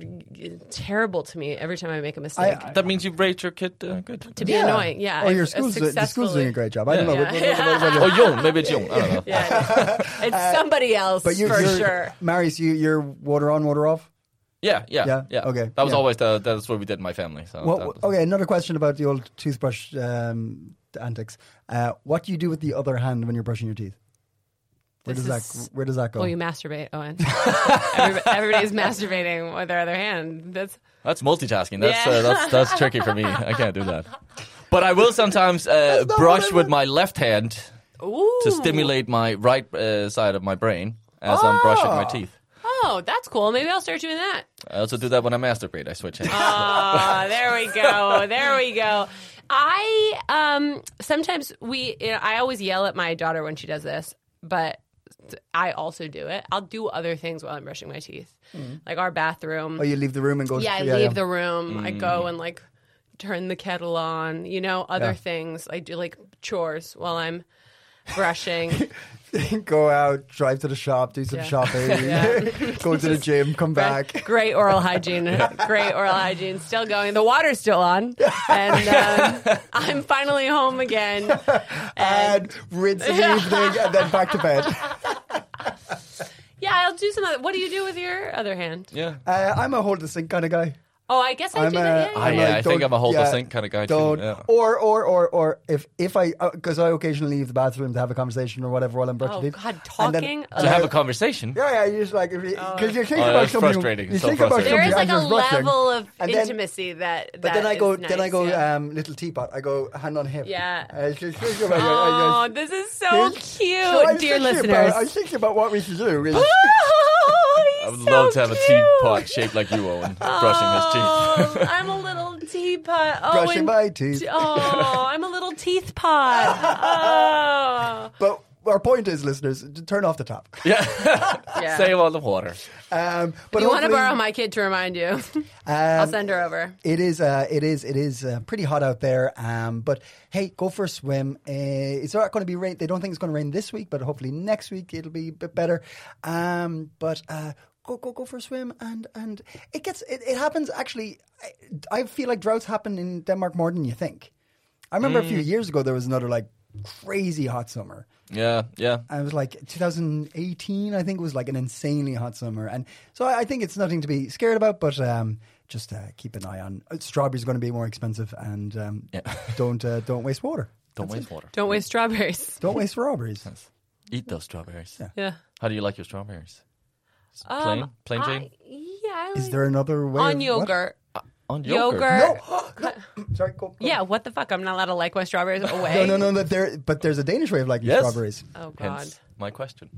Speaker 3: terrible to me every time I make a mistake.
Speaker 2: That means you've raised your kid uh, good.
Speaker 3: to be
Speaker 1: Yeah.
Speaker 3: annoying. Yeah.
Speaker 1: Oh,
Speaker 3: I-
Speaker 1: your
Speaker 3: I
Speaker 1: school's, the school's
Speaker 3: successfully-
Speaker 1: doing a great job. I don't know.
Speaker 2: Yeah.
Speaker 1: what- what- what- what-
Speaker 2: or young, Oh, maybe it's young. I don't know.
Speaker 3: Yeah. it's somebody else
Speaker 1: but you're,
Speaker 3: for
Speaker 1: you're,
Speaker 3: sure.
Speaker 1: Marius, you, you're water on, water off?
Speaker 2: Yeah, yeah,
Speaker 1: Yeah,
Speaker 2: yeah,
Speaker 1: okay,
Speaker 2: That was
Speaker 1: yeah. oh,
Speaker 2: always the that's what we did in my family. So
Speaker 1: What,
Speaker 2: that
Speaker 1: what-
Speaker 2: was-
Speaker 1: okay, another question about the old toothbrush um, antics. Uh, what do you do with the other hand when you're brushing your teeth? Where
Speaker 3: This
Speaker 1: does
Speaker 3: is-
Speaker 1: that Where does that go?
Speaker 3: Well, you masturbate, Owen. Everybody, everybody's masturbating with their other hand. That's
Speaker 2: That's multitasking. That's
Speaker 3: Yeah.
Speaker 2: uh, that's that's tricky for me. I can't do that. But I will sometimes uh,
Speaker 1: not
Speaker 2: brush
Speaker 1: what I
Speaker 2: with my left hand
Speaker 3: ooh.
Speaker 2: to stimulate my right uh, side of my brain as I'm brushing my
Speaker 1: Ah.
Speaker 2: teeth.
Speaker 3: Oh, that's cool. Maybe I'll start doing that.
Speaker 2: I also do that when I masturbate. I switch hands.
Speaker 3: Oh, there we go. There we go. I um sometimes we you know, I always yell at my daughter when she does this, but I also do it. I'll do other things while I'm brushing my teeth. Like our bathroom.
Speaker 1: Mm. oh, you leave the room and go.
Speaker 3: yeah, I leave the room. I go and like turn the kettle on, you know, other
Speaker 1: Mm. Yeah.
Speaker 3: things. I do like chores while I'm brushing.
Speaker 1: go out, drive to the shop, do some
Speaker 3: Yeah.
Speaker 1: shopping, go to the gym, come back.
Speaker 3: Great oral hygiene. Great oral hygiene. Still going. The water's still on. And um, I'm finally home again. And
Speaker 1: And rinse in the evening and then back to bed.
Speaker 3: yeah, I'll do some other. What do you do with your other hand?
Speaker 2: yeah.
Speaker 1: Uh, I'm a hold the sink kind of guy.
Speaker 3: Oh, I guess I
Speaker 1: I'm
Speaker 3: do
Speaker 1: a,
Speaker 3: that. Yeah,
Speaker 2: I-
Speaker 3: yeah.
Speaker 1: I'm
Speaker 2: yeah,
Speaker 1: a
Speaker 2: think
Speaker 1: don't-
Speaker 2: I'm a hold the sink kinda guy too,
Speaker 1: Don't,
Speaker 2: yeah.
Speaker 1: Or or or or if if I because I occasionally leave the bathroom to have a conversation or whatever while I'm brushing
Speaker 3: Oh,
Speaker 1: teeth.
Speaker 3: God,
Speaker 1: and then-
Speaker 3: talking?
Speaker 2: to have a conversation.
Speaker 1: yeah, yeah, you just like because you're thinking
Speaker 2: Oh,
Speaker 1: about
Speaker 2: that's
Speaker 1: something.
Speaker 2: frustrating.
Speaker 1: You
Speaker 2: So
Speaker 1: think about
Speaker 2: frustrating.
Speaker 3: there is
Speaker 1: something
Speaker 3: like a
Speaker 1: as you're brushing.
Speaker 3: level of
Speaker 1: And then-
Speaker 3: intimacy that.
Speaker 1: But then
Speaker 3: that
Speaker 1: I go,
Speaker 3: is
Speaker 1: then I
Speaker 3: nice,
Speaker 1: go,
Speaker 3: yeah.
Speaker 1: um, little teapot. I go hand on hip.
Speaker 3: Yeah.
Speaker 1: I was just thinking about- uh, I- I
Speaker 3: oh,
Speaker 1: was-
Speaker 3: this is so
Speaker 1: Yes.
Speaker 3: cute,
Speaker 1: So I was
Speaker 3: dear
Speaker 1: thinking
Speaker 3: listeners.
Speaker 1: About, I was thinking about what we should do. Really.
Speaker 3: Oh, he's
Speaker 2: I would
Speaker 3: so
Speaker 2: love to have
Speaker 3: cute.
Speaker 2: a teapot shaped like you, Owen, brushing his teeth.
Speaker 3: Oh, I'm a little teapot. Oh,
Speaker 1: Brushing
Speaker 3: and-
Speaker 1: my teeth.
Speaker 3: Oh, I'm a little teeth Oh. pot.
Speaker 1: But our point is, listeners, to turn off the tap.
Speaker 3: Oh, yeah.
Speaker 2: Save all the water.
Speaker 1: Um, but
Speaker 3: you want to
Speaker 1: hopefully-
Speaker 3: borrow my kid to remind you?
Speaker 1: Um,
Speaker 3: I'll send her over.
Speaker 1: It is, uh, it is, it is uh, pretty hot out there. Um, but hey, go for a swim. Uh, it's not going to be rain. They don't think it's going to rain this week, but hopefully next week it'll be a bit better. Um, but uh, go, go, go for a swim, and and it gets, it, it happens. Actually, I, I feel like droughts happen in Denmark more than you think. I remember a few years ago there was another like crazy hot summer.
Speaker 2: Yeah, yeah.
Speaker 1: I was like 2018, I think was like an insanely hot summer, and so I, I think it's nothing to be scared about, but um, just uh, keep an eye on. uh, Strawberries are going to be more expensive, and um, don't uh, don't waste water.
Speaker 2: Don't waste water.
Speaker 3: Don't waste strawberries.
Speaker 1: Don't waste strawberries.
Speaker 2: Eat those strawberries.
Speaker 3: Yeah. Um,
Speaker 2: How do you like your strawberries? S- Plain, plain Jane,
Speaker 3: I, yeah. I
Speaker 1: Is
Speaker 3: like-
Speaker 1: there another way?
Speaker 3: on
Speaker 1: of-
Speaker 3: yogurt?
Speaker 2: on
Speaker 3: Yogurt.
Speaker 1: what? Sorry, go, go.
Speaker 3: Yeah. What the fuck? I'm not allowed to like my strawberries
Speaker 1: No,
Speaker 3: away.
Speaker 1: no, no. That there, but there's a Danish way of liking
Speaker 2: Yes.
Speaker 1: strawberries.
Speaker 3: Oh God.
Speaker 2: Hence my question.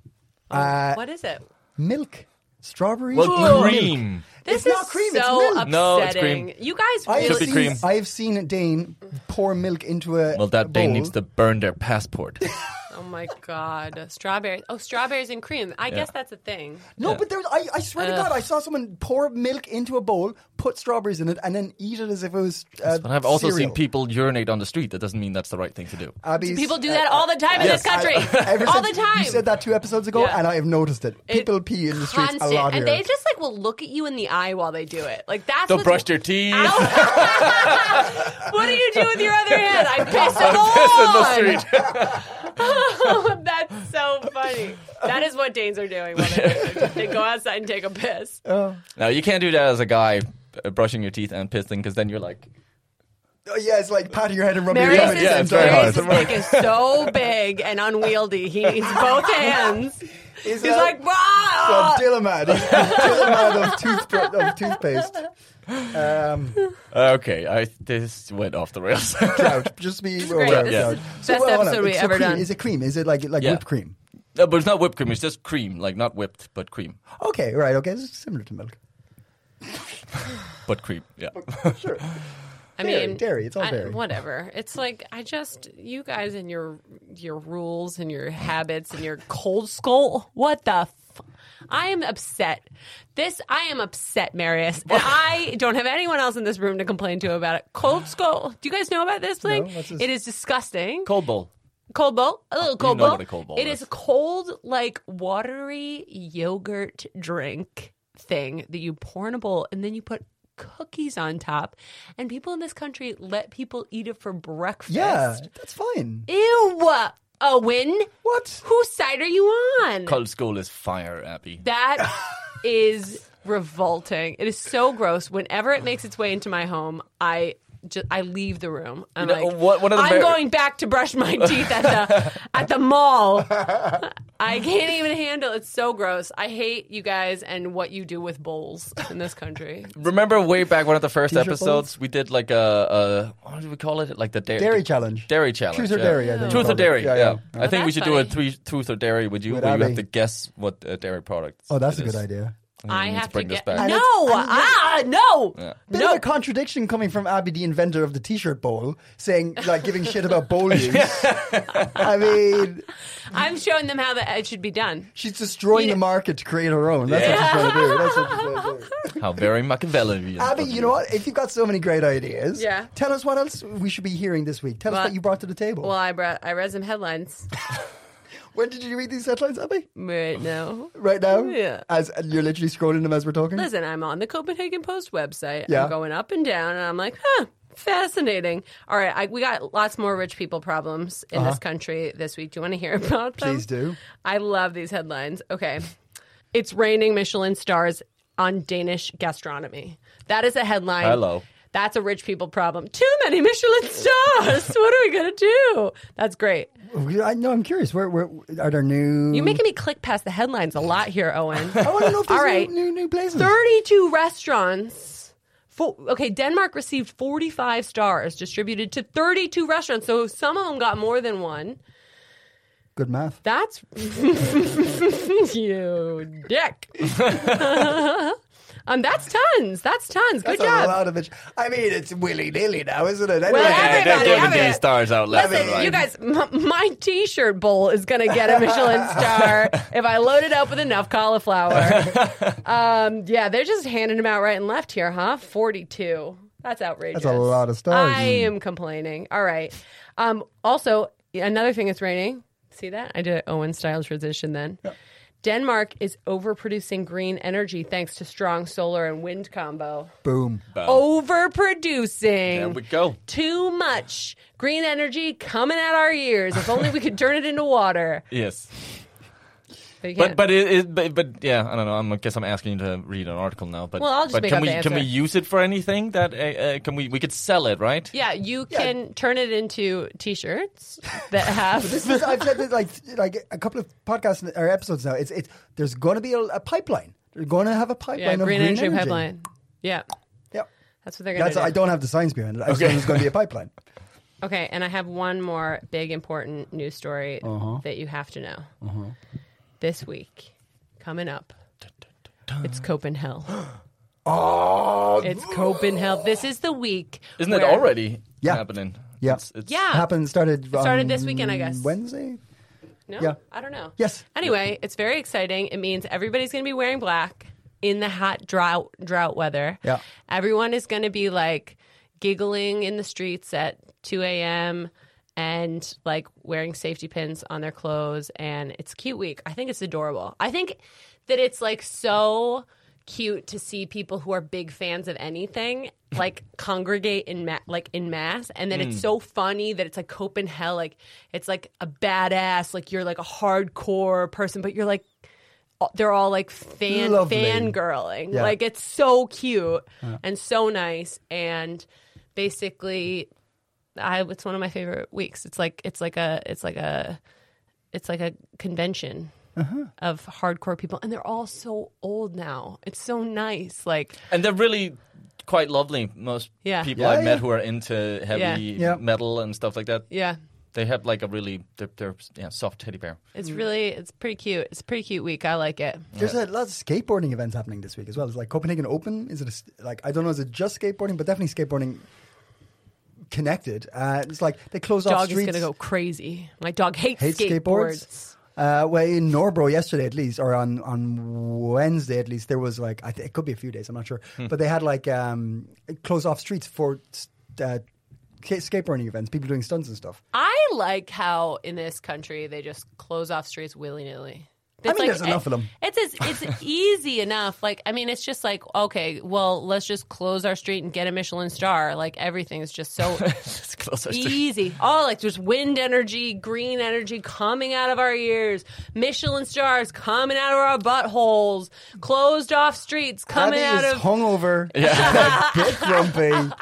Speaker 1: Uh,
Speaker 3: Oh, what is it?
Speaker 1: Milk, strawberries.
Speaker 2: Well,
Speaker 1: milk.
Speaker 2: cream.
Speaker 3: This
Speaker 1: not
Speaker 3: is
Speaker 1: cream, it's
Speaker 3: so
Speaker 1: milk.
Speaker 3: upsetting.
Speaker 2: No, it's cream.
Speaker 3: You guys
Speaker 1: I
Speaker 3: really
Speaker 1: have,
Speaker 2: Should be
Speaker 1: seen,
Speaker 2: cream.
Speaker 1: I have seen a Dane pour milk into a
Speaker 2: Well, that day
Speaker 1: bowl.
Speaker 2: needs to burn their passport.
Speaker 3: Oh my god, strawberries! Oh, strawberries and cream. I guess that's a thing.
Speaker 1: No, but there, I, I swear to God, I saw someone pour milk into a bowl, put strawberries in it, and then eat it as if it was. Uh,
Speaker 2: But I've also
Speaker 1: cereal.
Speaker 2: seen people urinate on the street. That doesn't mean that's the right thing to do.
Speaker 1: Abby's-
Speaker 3: People do
Speaker 1: uh,
Speaker 3: that all the time in
Speaker 2: yes,
Speaker 3: this country.
Speaker 1: Ever
Speaker 3: all the
Speaker 1: since
Speaker 3: time.
Speaker 1: You said that two episodes ago,
Speaker 3: Yeah.
Speaker 1: and I have noticed it.
Speaker 3: It-
Speaker 1: People pee in the streets
Speaker 3: Constant.
Speaker 1: a lot
Speaker 3: and
Speaker 1: here.
Speaker 3: they just like will look at you in the eye while they do it. Like that's
Speaker 2: Don't
Speaker 3: what's-
Speaker 2: brush their teeth.
Speaker 3: Ow. what do you do with your other hand? I piss it on. Oh, that's so funny. That is what Danes are doing. While they're- they go outside and take a piss.
Speaker 2: No, you can't do that as a guy uh, brushing your teeth and pissing because then you're like,
Speaker 1: Oh, yeah, it's like patting your head and rubbing your
Speaker 3: Marius
Speaker 1: hands.
Speaker 3: is,
Speaker 2: yeah,
Speaker 1: Yeah,
Speaker 2: it's very
Speaker 3: Marius'
Speaker 2: hard.
Speaker 3: dick is so big and unwieldy. He needs both hands. He's,
Speaker 1: that-
Speaker 3: like,
Speaker 1: Oh,
Speaker 3: "Rah!"
Speaker 1: Dillamad. He's the Dillamad of, toothbr- of toothpaste. Um,
Speaker 2: okay, I this went off the rails.
Speaker 1: drought. Just be
Speaker 3: great.
Speaker 1: aware of
Speaker 3: This
Speaker 1: drought.
Speaker 3: is
Speaker 1: So, well,
Speaker 3: best
Speaker 1: hold on.
Speaker 3: episode we
Speaker 1: So
Speaker 3: ever
Speaker 1: cream,
Speaker 3: done.
Speaker 1: Is it cream? Is it like like
Speaker 2: Yeah.
Speaker 1: whipped cream?
Speaker 2: No, but it's not whipped cream. It's just cream, like not whipped, but cream,
Speaker 1: Okay, right, okay. It's similar to milk.
Speaker 2: but cream. Yeah.
Speaker 1: Sure.
Speaker 3: I
Speaker 1: Dairy,
Speaker 3: mean,
Speaker 1: dairy, it's all
Speaker 3: I-
Speaker 1: dairy.
Speaker 3: whatever. It's like I just you guys and your your rules and your habits and your cold skull. What the. F- I am upset. This I am upset, Marius, and I don't have anyone else in this room to complain to about it. Cold skull. Do you guys know about this thing?
Speaker 1: what's this?
Speaker 3: It is disgusting.
Speaker 2: Cold bowl.
Speaker 3: Cold bowl, a little cold
Speaker 2: know
Speaker 3: bowl.
Speaker 2: what a cold bowl
Speaker 3: It
Speaker 2: is.
Speaker 3: is cold, like watery yogurt drink thing that you pour in a bowl and then you put cookies on top. And people in this country let people eat it for breakfast.
Speaker 1: Yeah, that's fine.
Speaker 3: Ew, Owen.
Speaker 1: What?
Speaker 3: Whose side are you on?
Speaker 2: Cold school is fire, Abby.
Speaker 3: That is revolting. It is so gross. Whenever it makes its way into my home, I just I leave the room. I'm
Speaker 2: You know,
Speaker 3: like,
Speaker 2: what- one of the
Speaker 3: I'm
Speaker 2: ver-
Speaker 3: going back to brush my teeth at the at the mall. I can't even handle. it. It's so gross. I hate you guys and what you do with bowls in this country.
Speaker 2: Remember way back one of the first
Speaker 1: T-shirt
Speaker 2: episodes we did like a, a what did we call it like the dairy
Speaker 1: Dairy challenge.
Speaker 2: dairy challenge
Speaker 1: Truth or
Speaker 2: yeah.
Speaker 1: dairy, I think
Speaker 2: truth
Speaker 1: we
Speaker 2: or
Speaker 1: called it.
Speaker 2: dairy yeah,
Speaker 1: Yeah, yeah.
Speaker 2: I think we
Speaker 3: that's
Speaker 2: should do a
Speaker 3: funny.
Speaker 2: three truth or dairy with you
Speaker 1: With
Speaker 2: where you have
Speaker 1: Abby.
Speaker 2: to guess what uh, dairy product
Speaker 1: Oh, that's
Speaker 2: it
Speaker 1: a good
Speaker 2: is.
Speaker 1: idea.
Speaker 3: I
Speaker 2: Mm, let's
Speaker 3: have to
Speaker 2: bring this
Speaker 3: get
Speaker 2: back.
Speaker 3: no,
Speaker 2: And
Speaker 3: ah, no,
Speaker 1: Bit
Speaker 3: no.
Speaker 1: of a contradiction coming from Abby, the inventor of the T-shirt bowl, saying like giving shit about bowl use. I mean,
Speaker 3: I'm showing them how that it should be done.
Speaker 1: she's destroying the market to create her own. That's what she's trying to do. That's what she's trying to do.
Speaker 2: how very Machiavellian
Speaker 1: Abby,
Speaker 2: of
Speaker 1: you know what? If you've got so many great ideas,
Speaker 3: Yeah.
Speaker 1: tell us what else we should be hearing this week. Tell us
Speaker 3: Well-
Speaker 1: what you brought to the table.
Speaker 3: Well, I brought I read some headlines.
Speaker 1: when did you read these headlines, Abby?
Speaker 3: Right now,
Speaker 1: Right now?
Speaker 3: Yeah.
Speaker 1: As and you're literally scrolling them as we're talking?
Speaker 3: Listen, I'm on the Copenhagen Post website.
Speaker 1: Yeah.
Speaker 3: I'm going up and down, and I'm like, huh, fascinating. All right, I, we got lots more rich people problems in this country this week. Do you want to hear about them?
Speaker 1: Uh-huh. Please do.
Speaker 3: I love these headlines. Okay. It's raining Michelin stars on Danish gastronomy. That is a headline.
Speaker 2: Hello.
Speaker 3: That's a rich people problem. Too many Michelin stars. what are we going to do? That's great.
Speaker 1: I know, I'm curious. Where, where are there new.
Speaker 3: You're making me click past the headlines a lot here, Owen.
Speaker 1: I want to know if there's
Speaker 3: All right.
Speaker 1: new, new, new places.
Speaker 3: 32 restaurants. Fo okay, Denmark received 45 stars distributed to 32 restaurants. So some of them got more than one.
Speaker 1: Good math.
Speaker 3: That's you dick. um, that's tons. That's tons. Good
Speaker 1: That's a
Speaker 3: job.
Speaker 1: lot of it. I mean, it's willy nilly now, isn't it? Anyway,
Speaker 3: Well,
Speaker 2: Yeah, they're
Speaker 3: everybody,
Speaker 2: giving
Speaker 3: everybody.
Speaker 2: these stars out left
Speaker 3: Listen,
Speaker 2: and right.
Speaker 3: you guys, m- my T-shirt bowl is gonna get a Michelin star if I load it up with enough cauliflower. um, yeah, they're just handing them out right and left here, huh? Forty-two. That's outrageous.
Speaker 1: That's a lot of stars.
Speaker 3: I am complaining. All right. Um, also, another thing. It's raining. See that? I did an Owen Styles transition then. Denmark is overproducing green energy thanks to strong solar and wind combo.
Speaker 1: Boom.
Speaker 3: Overproducing.
Speaker 2: There we go.
Speaker 3: Too much green energy coming at our ears. If only we could turn it into water.
Speaker 2: yes
Speaker 3: But, you
Speaker 2: but
Speaker 3: can't.
Speaker 2: but it, it but, but yeah I don't know I'm, I guess I'm asking you to read an article now but
Speaker 3: Well, I'll just
Speaker 2: but
Speaker 3: make
Speaker 2: can
Speaker 3: up
Speaker 2: we
Speaker 3: the
Speaker 2: can we
Speaker 3: answer.
Speaker 2: use it for anything that uh, uh, can we we could sell it right
Speaker 3: yeah, you can turn it into t-shirts that have.
Speaker 1: This is, I've said this like like a couple of podcasts or episodes now. It's it's there's going to be a, a pipeline. They're going to have a pipeline
Speaker 3: yeah,
Speaker 1: of
Speaker 3: green,
Speaker 1: green
Speaker 3: energy,
Speaker 1: energy.
Speaker 3: pipeline. Yeah,
Speaker 1: Yep.
Speaker 3: that's what they're gonna
Speaker 1: That's,
Speaker 3: do.
Speaker 1: I don't have the science behind it. I just know there's going to be a pipeline.
Speaker 3: Okay, and I have one more big important news story that you have to know. This week, coming up, it's Copenhagen.
Speaker 1: Oh,
Speaker 3: It's Copenhagen. This is the week.
Speaker 2: isn't it
Speaker 3: where-
Speaker 2: already
Speaker 1: Yeah.
Speaker 2: happening
Speaker 1: Yeah.
Speaker 2: it's, it's
Speaker 3: Yeah.
Speaker 1: happened started
Speaker 3: It started
Speaker 1: on
Speaker 3: this weekend, I guess.
Speaker 1: Wednesday.
Speaker 3: No,
Speaker 1: Yeah.
Speaker 3: I don't know.
Speaker 1: Yes.
Speaker 3: Anyway, it's very exciting. It means everybody's going to be wearing black in the hot drought drought weather.
Speaker 1: Yeah.
Speaker 3: Everyone is going to be like giggling in the streets at 2 a.m. and like wearing safety pins on their clothes, and it's a cute week. I think it's adorable. I think that it's like so cute to see people who are big fans of anything like congregate in ma- like in mass and then it's so funny that it's like Copenhagen like it's like a badass like you're like a hardcore person but you're like all- they're all like fan
Speaker 1: Lovely.
Speaker 3: fangirling
Speaker 1: Yeah.
Speaker 3: like it's so cute and so nice and basically I it's one of my favorite weeks it's like it's like a it's like a it's like a convention
Speaker 1: Uh-huh.
Speaker 3: of hardcore people and they're all so old now it's so nice like
Speaker 2: and they're really quite lovely. Most
Speaker 3: Yeah.
Speaker 2: people
Speaker 1: Yeah,
Speaker 2: I've
Speaker 1: yeah.
Speaker 2: met who are into heavy
Speaker 3: Yeah.
Speaker 1: Yeah.
Speaker 2: metal and stuff like that.
Speaker 3: yeah
Speaker 2: They have like a really they're, they're yeah, soft teddy bear.
Speaker 3: It's
Speaker 1: Mm.
Speaker 3: really, it's pretty cute. It's a pretty cute week. I like it.
Speaker 1: There's a lot of skateboarding events happening this week as well. It's like Copenhagen Open. Is it a s like I don't know? Is it just skateboarding? But definitely skateboarding connected. Uh, it's like they close off
Speaker 3: Dog is
Speaker 1: streets.
Speaker 3: gonna go crazy. My dog hates
Speaker 1: Hate skateboards.
Speaker 3: skateboards.
Speaker 1: Uh, well, in Norbro yesterday, at least, or on, on Wednesday, at least, there was like I th- it could be a few days. I'm not sure, but they had like um, close off streets for uh, ska- skateboarding events, people doing stunts and stuff.
Speaker 3: I like how in this country they just close off streets willy nilly.
Speaker 1: mean, there's enough of them.
Speaker 3: It's as, it's easy enough. Like I mean, it's just like okay, well, let's just close our street and get a Michelin star. Like everything is just so
Speaker 2: It's close.
Speaker 3: easy. Oh, like there's wind energy, green energy coming out of our ears, Michelin stars coming out of our buttholes, closed off streets coming
Speaker 1: Abby
Speaker 3: out
Speaker 1: is
Speaker 3: of
Speaker 1: hungover, a bit grumpy.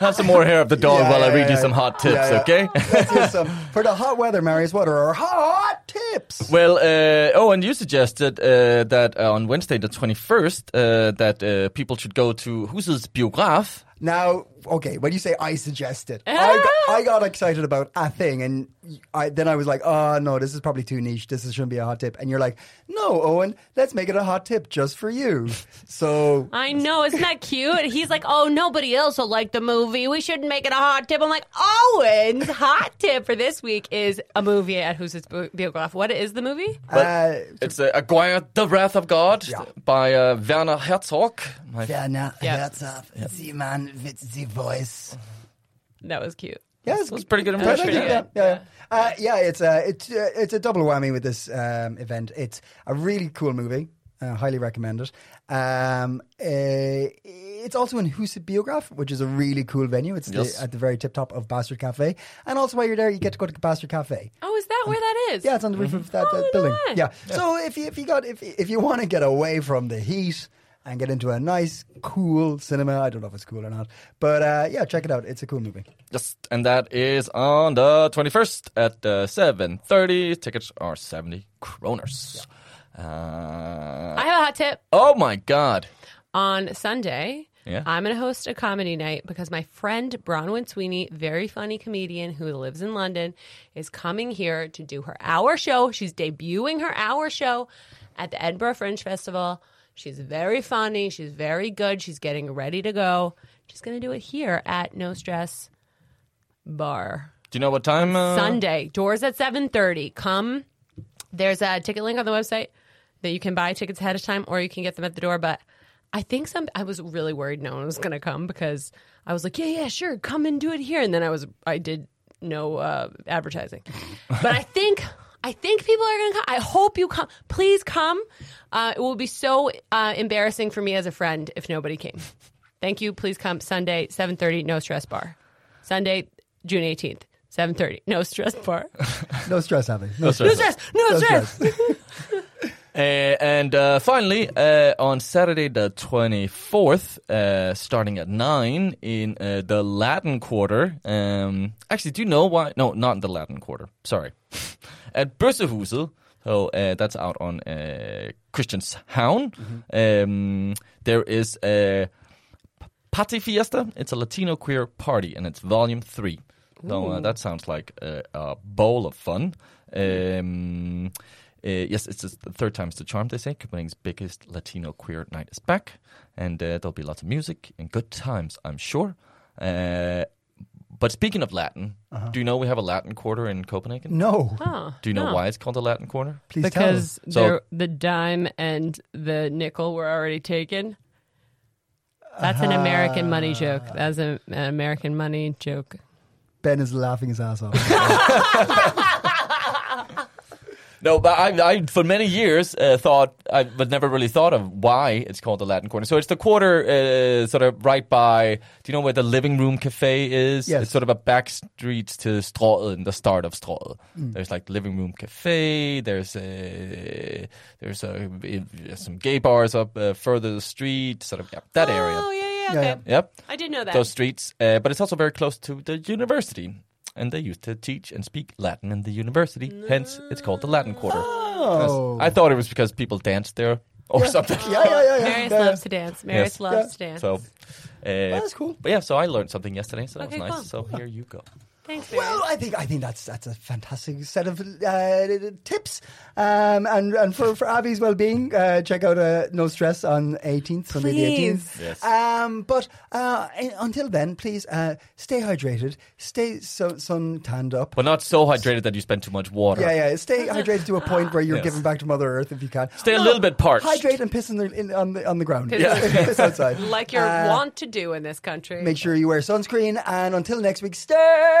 Speaker 2: Have some more hair of the dog
Speaker 1: Yeah,
Speaker 2: while I
Speaker 1: yeah,
Speaker 2: read you
Speaker 1: yeah.
Speaker 2: some hot tips,
Speaker 1: Yeah, yeah.
Speaker 2: okay?
Speaker 1: Let's hear some for the hot weather, Marius. What are our hot tips?
Speaker 2: Well, uh, oh, and you suggested uh, that uh, on Wednesday the 21st uh, that uh, people should go to Husets Biograf.
Speaker 1: Now, okay, when you say I suggested, I, got, I got excited about a thing, and I, then I was like, oh no, this is probably too niche. This shouldn't be a hot tip. And you're like, no, Owen, let's make it a hot tip just for you. So
Speaker 3: I know, isn't that cute? He's like, oh, nobody else will like the movie. We shouldn't make it a hot tip. I'm like, Owen's hot tip for this week is a movie at Who's It's Biograph. What is the movie?
Speaker 1: uh,
Speaker 2: It's uh, Aguirre, The Wrath of God
Speaker 1: Yeah.
Speaker 2: by uh, Werner Herzog. My
Speaker 1: Werner
Speaker 3: Yeah.
Speaker 1: Herzog, the man with the voice.
Speaker 3: That was cute.
Speaker 1: Yeah, it's
Speaker 2: That's pretty good
Speaker 1: Yeah,
Speaker 2: impression.
Speaker 1: yeah, yeah, yeah. Uh, yeah, it's a it's uh, it's a double whammy with this um, event. It's a really cool movie. Uh, highly recommend it. Um, uh, it's also in Huset Biograph, which is a really cool venue. It's
Speaker 2: Yes.
Speaker 1: the, at the very tip top of Bastard Cafe. And also, while you're there, you get to go to Bastard Cafe.
Speaker 3: Oh, is that where that is?
Speaker 1: Yeah, it's on the roof
Speaker 2: Mm-hmm.
Speaker 1: of that,
Speaker 2: Oh,
Speaker 1: that building.
Speaker 3: way.
Speaker 1: Yeah. So if you if you got if if you want to get away from the heat and get into a nice, cool cinema, I don't know if it's cool or not, but uh, yeah, check it out. It's a cool movie.
Speaker 2: Yes, and that is on the 21st at uh, 7.30. Tickets are 70 kroners. Uh,
Speaker 3: I have a hot tip.
Speaker 2: oh my God.
Speaker 3: on Sunday.
Speaker 2: Yeah.
Speaker 3: I'm going to host a comedy night because my friend Bronwyn Sweeney, very funny comedian who lives in London, is coming here to do her hour show. She's debuting her hour show at the Edinburgh Fringe Festival. She's very funny. She's very good. She's getting ready to go. She's going to do it here at No Stress Bar.
Speaker 2: Do you know what time? Uh,
Speaker 3: Sunday. Doors at 7:30. Come. There's a ticket link on the website that you can buy tickets ahead of time or you can get them at the door, but I think some I was really worried no one was going to come because I was like, "Yeah, yeah, sure. Come and do it here." And then I was I did no uh, advertising. But I think I think people are going to come. I hope you come. Please come. Uh, it will be so uh, embarrassing for me as a friend if nobody came. Thank you. Please come Sunday, 7:30, no stress bar. Sunday, June 18th, 7:30. No stress bar.
Speaker 1: No stress, Abby. No,
Speaker 2: stress.
Speaker 3: No stress. No, stress.
Speaker 2: Uh, and uh, finally, uh, on Saturday the 24th, uh, starting at 9 in uh, the Latin Quarter. Um, actually, do you know why? No, not in the Latin Quarter. Sorry. at Börsehuset. So uh, that's out on uh, Christianshavn. Um, there is a Party Fiesta. It's a Latino queer party, and it's volume three. So uh, that sounds like a, a bowl of fun. Um, uh, yes, it's just the third time's the charm, they say. Copenhagen's biggest Latino queer night is back, and uh, there'll be lots of music and good times, I'm sure. Uh, but speaking of Latin, do you know we have a Latin quarter in Copenhagen?
Speaker 1: No.
Speaker 2: Do you know
Speaker 3: no.
Speaker 2: why it's called the Latin quarter?
Speaker 1: Please tell us.
Speaker 3: Because
Speaker 2: So-
Speaker 3: they're- the dime and the nickel were already taken. That's an American money
Speaker 2: Ah.
Speaker 3: joke. That's a, an American money joke.
Speaker 1: Ben is laughing his ass off.
Speaker 2: No, but I, I for many years uh, thought, I, but never really thought of why it's called the Latin Quarter. So it's the quarter uh, sort of right by, do you know where the Living Room Cafe is?
Speaker 1: Yes.
Speaker 2: It's sort of a back street to Strøget, the start of Strøget. There's like Living Room Cafe, there's uh, there's uh, i- some gay bars up uh, further the street, sort of yeah, that
Speaker 3: Oh,
Speaker 2: area.
Speaker 3: yeah, yeah,
Speaker 1: Yeah,
Speaker 3: okay.
Speaker 1: yeah.
Speaker 2: Yep
Speaker 3: I did know that.
Speaker 2: those streets. Uh, but it's also very close to the university, and they used to teach and speak Latin in the university. Hence, it's called the Latin Quarter.
Speaker 1: Oh.
Speaker 2: I thought it was because people danced there or something.
Speaker 1: yeah, yeah, yeah. yeah.
Speaker 3: Marius
Speaker 1: yeah,
Speaker 3: loves to dance. Marius
Speaker 2: Yes.
Speaker 3: loves to dance.
Speaker 2: So uh,
Speaker 1: That's cool.
Speaker 2: But yeah, so I learned something yesterday, so that
Speaker 3: Okay,
Speaker 2: was nice.
Speaker 3: cool.
Speaker 2: So here you go.
Speaker 3: Thanks, Mary.
Speaker 1: Well, I think I think that's that's a fantastic set of uh, tips, um, and and for, for Abby's well being, uh, check out uh, No Stress on eighteenth Sunday the eighteenth.
Speaker 3: Please.
Speaker 2: Yes.
Speaker 1: Um, but uh, in- until then, please uh, stay hydrated, stay so, sun tanned up.
Speaker 2: But not so hydrated that you spend too much water.
Speaker 1: yeah, yeah. Stay hydrated to a point where you're
Speaker 2: Yes.
Speaker 1: giving back to Mother Earth if you can.
Speaker 2: Stay a little bit parched.
Speaker 1: Hydrate and piss in the, in, on the on the ground.
Speaker 3: Piss
Speaker 2: Yeah. on
Speaker 1: piss outside.
Speaker 3: like you're
Speaker 1: Uh,
Speaker 3: wont to do in this country.
Speaker 1: Make sure you wear sunscreen. And until next week, stay.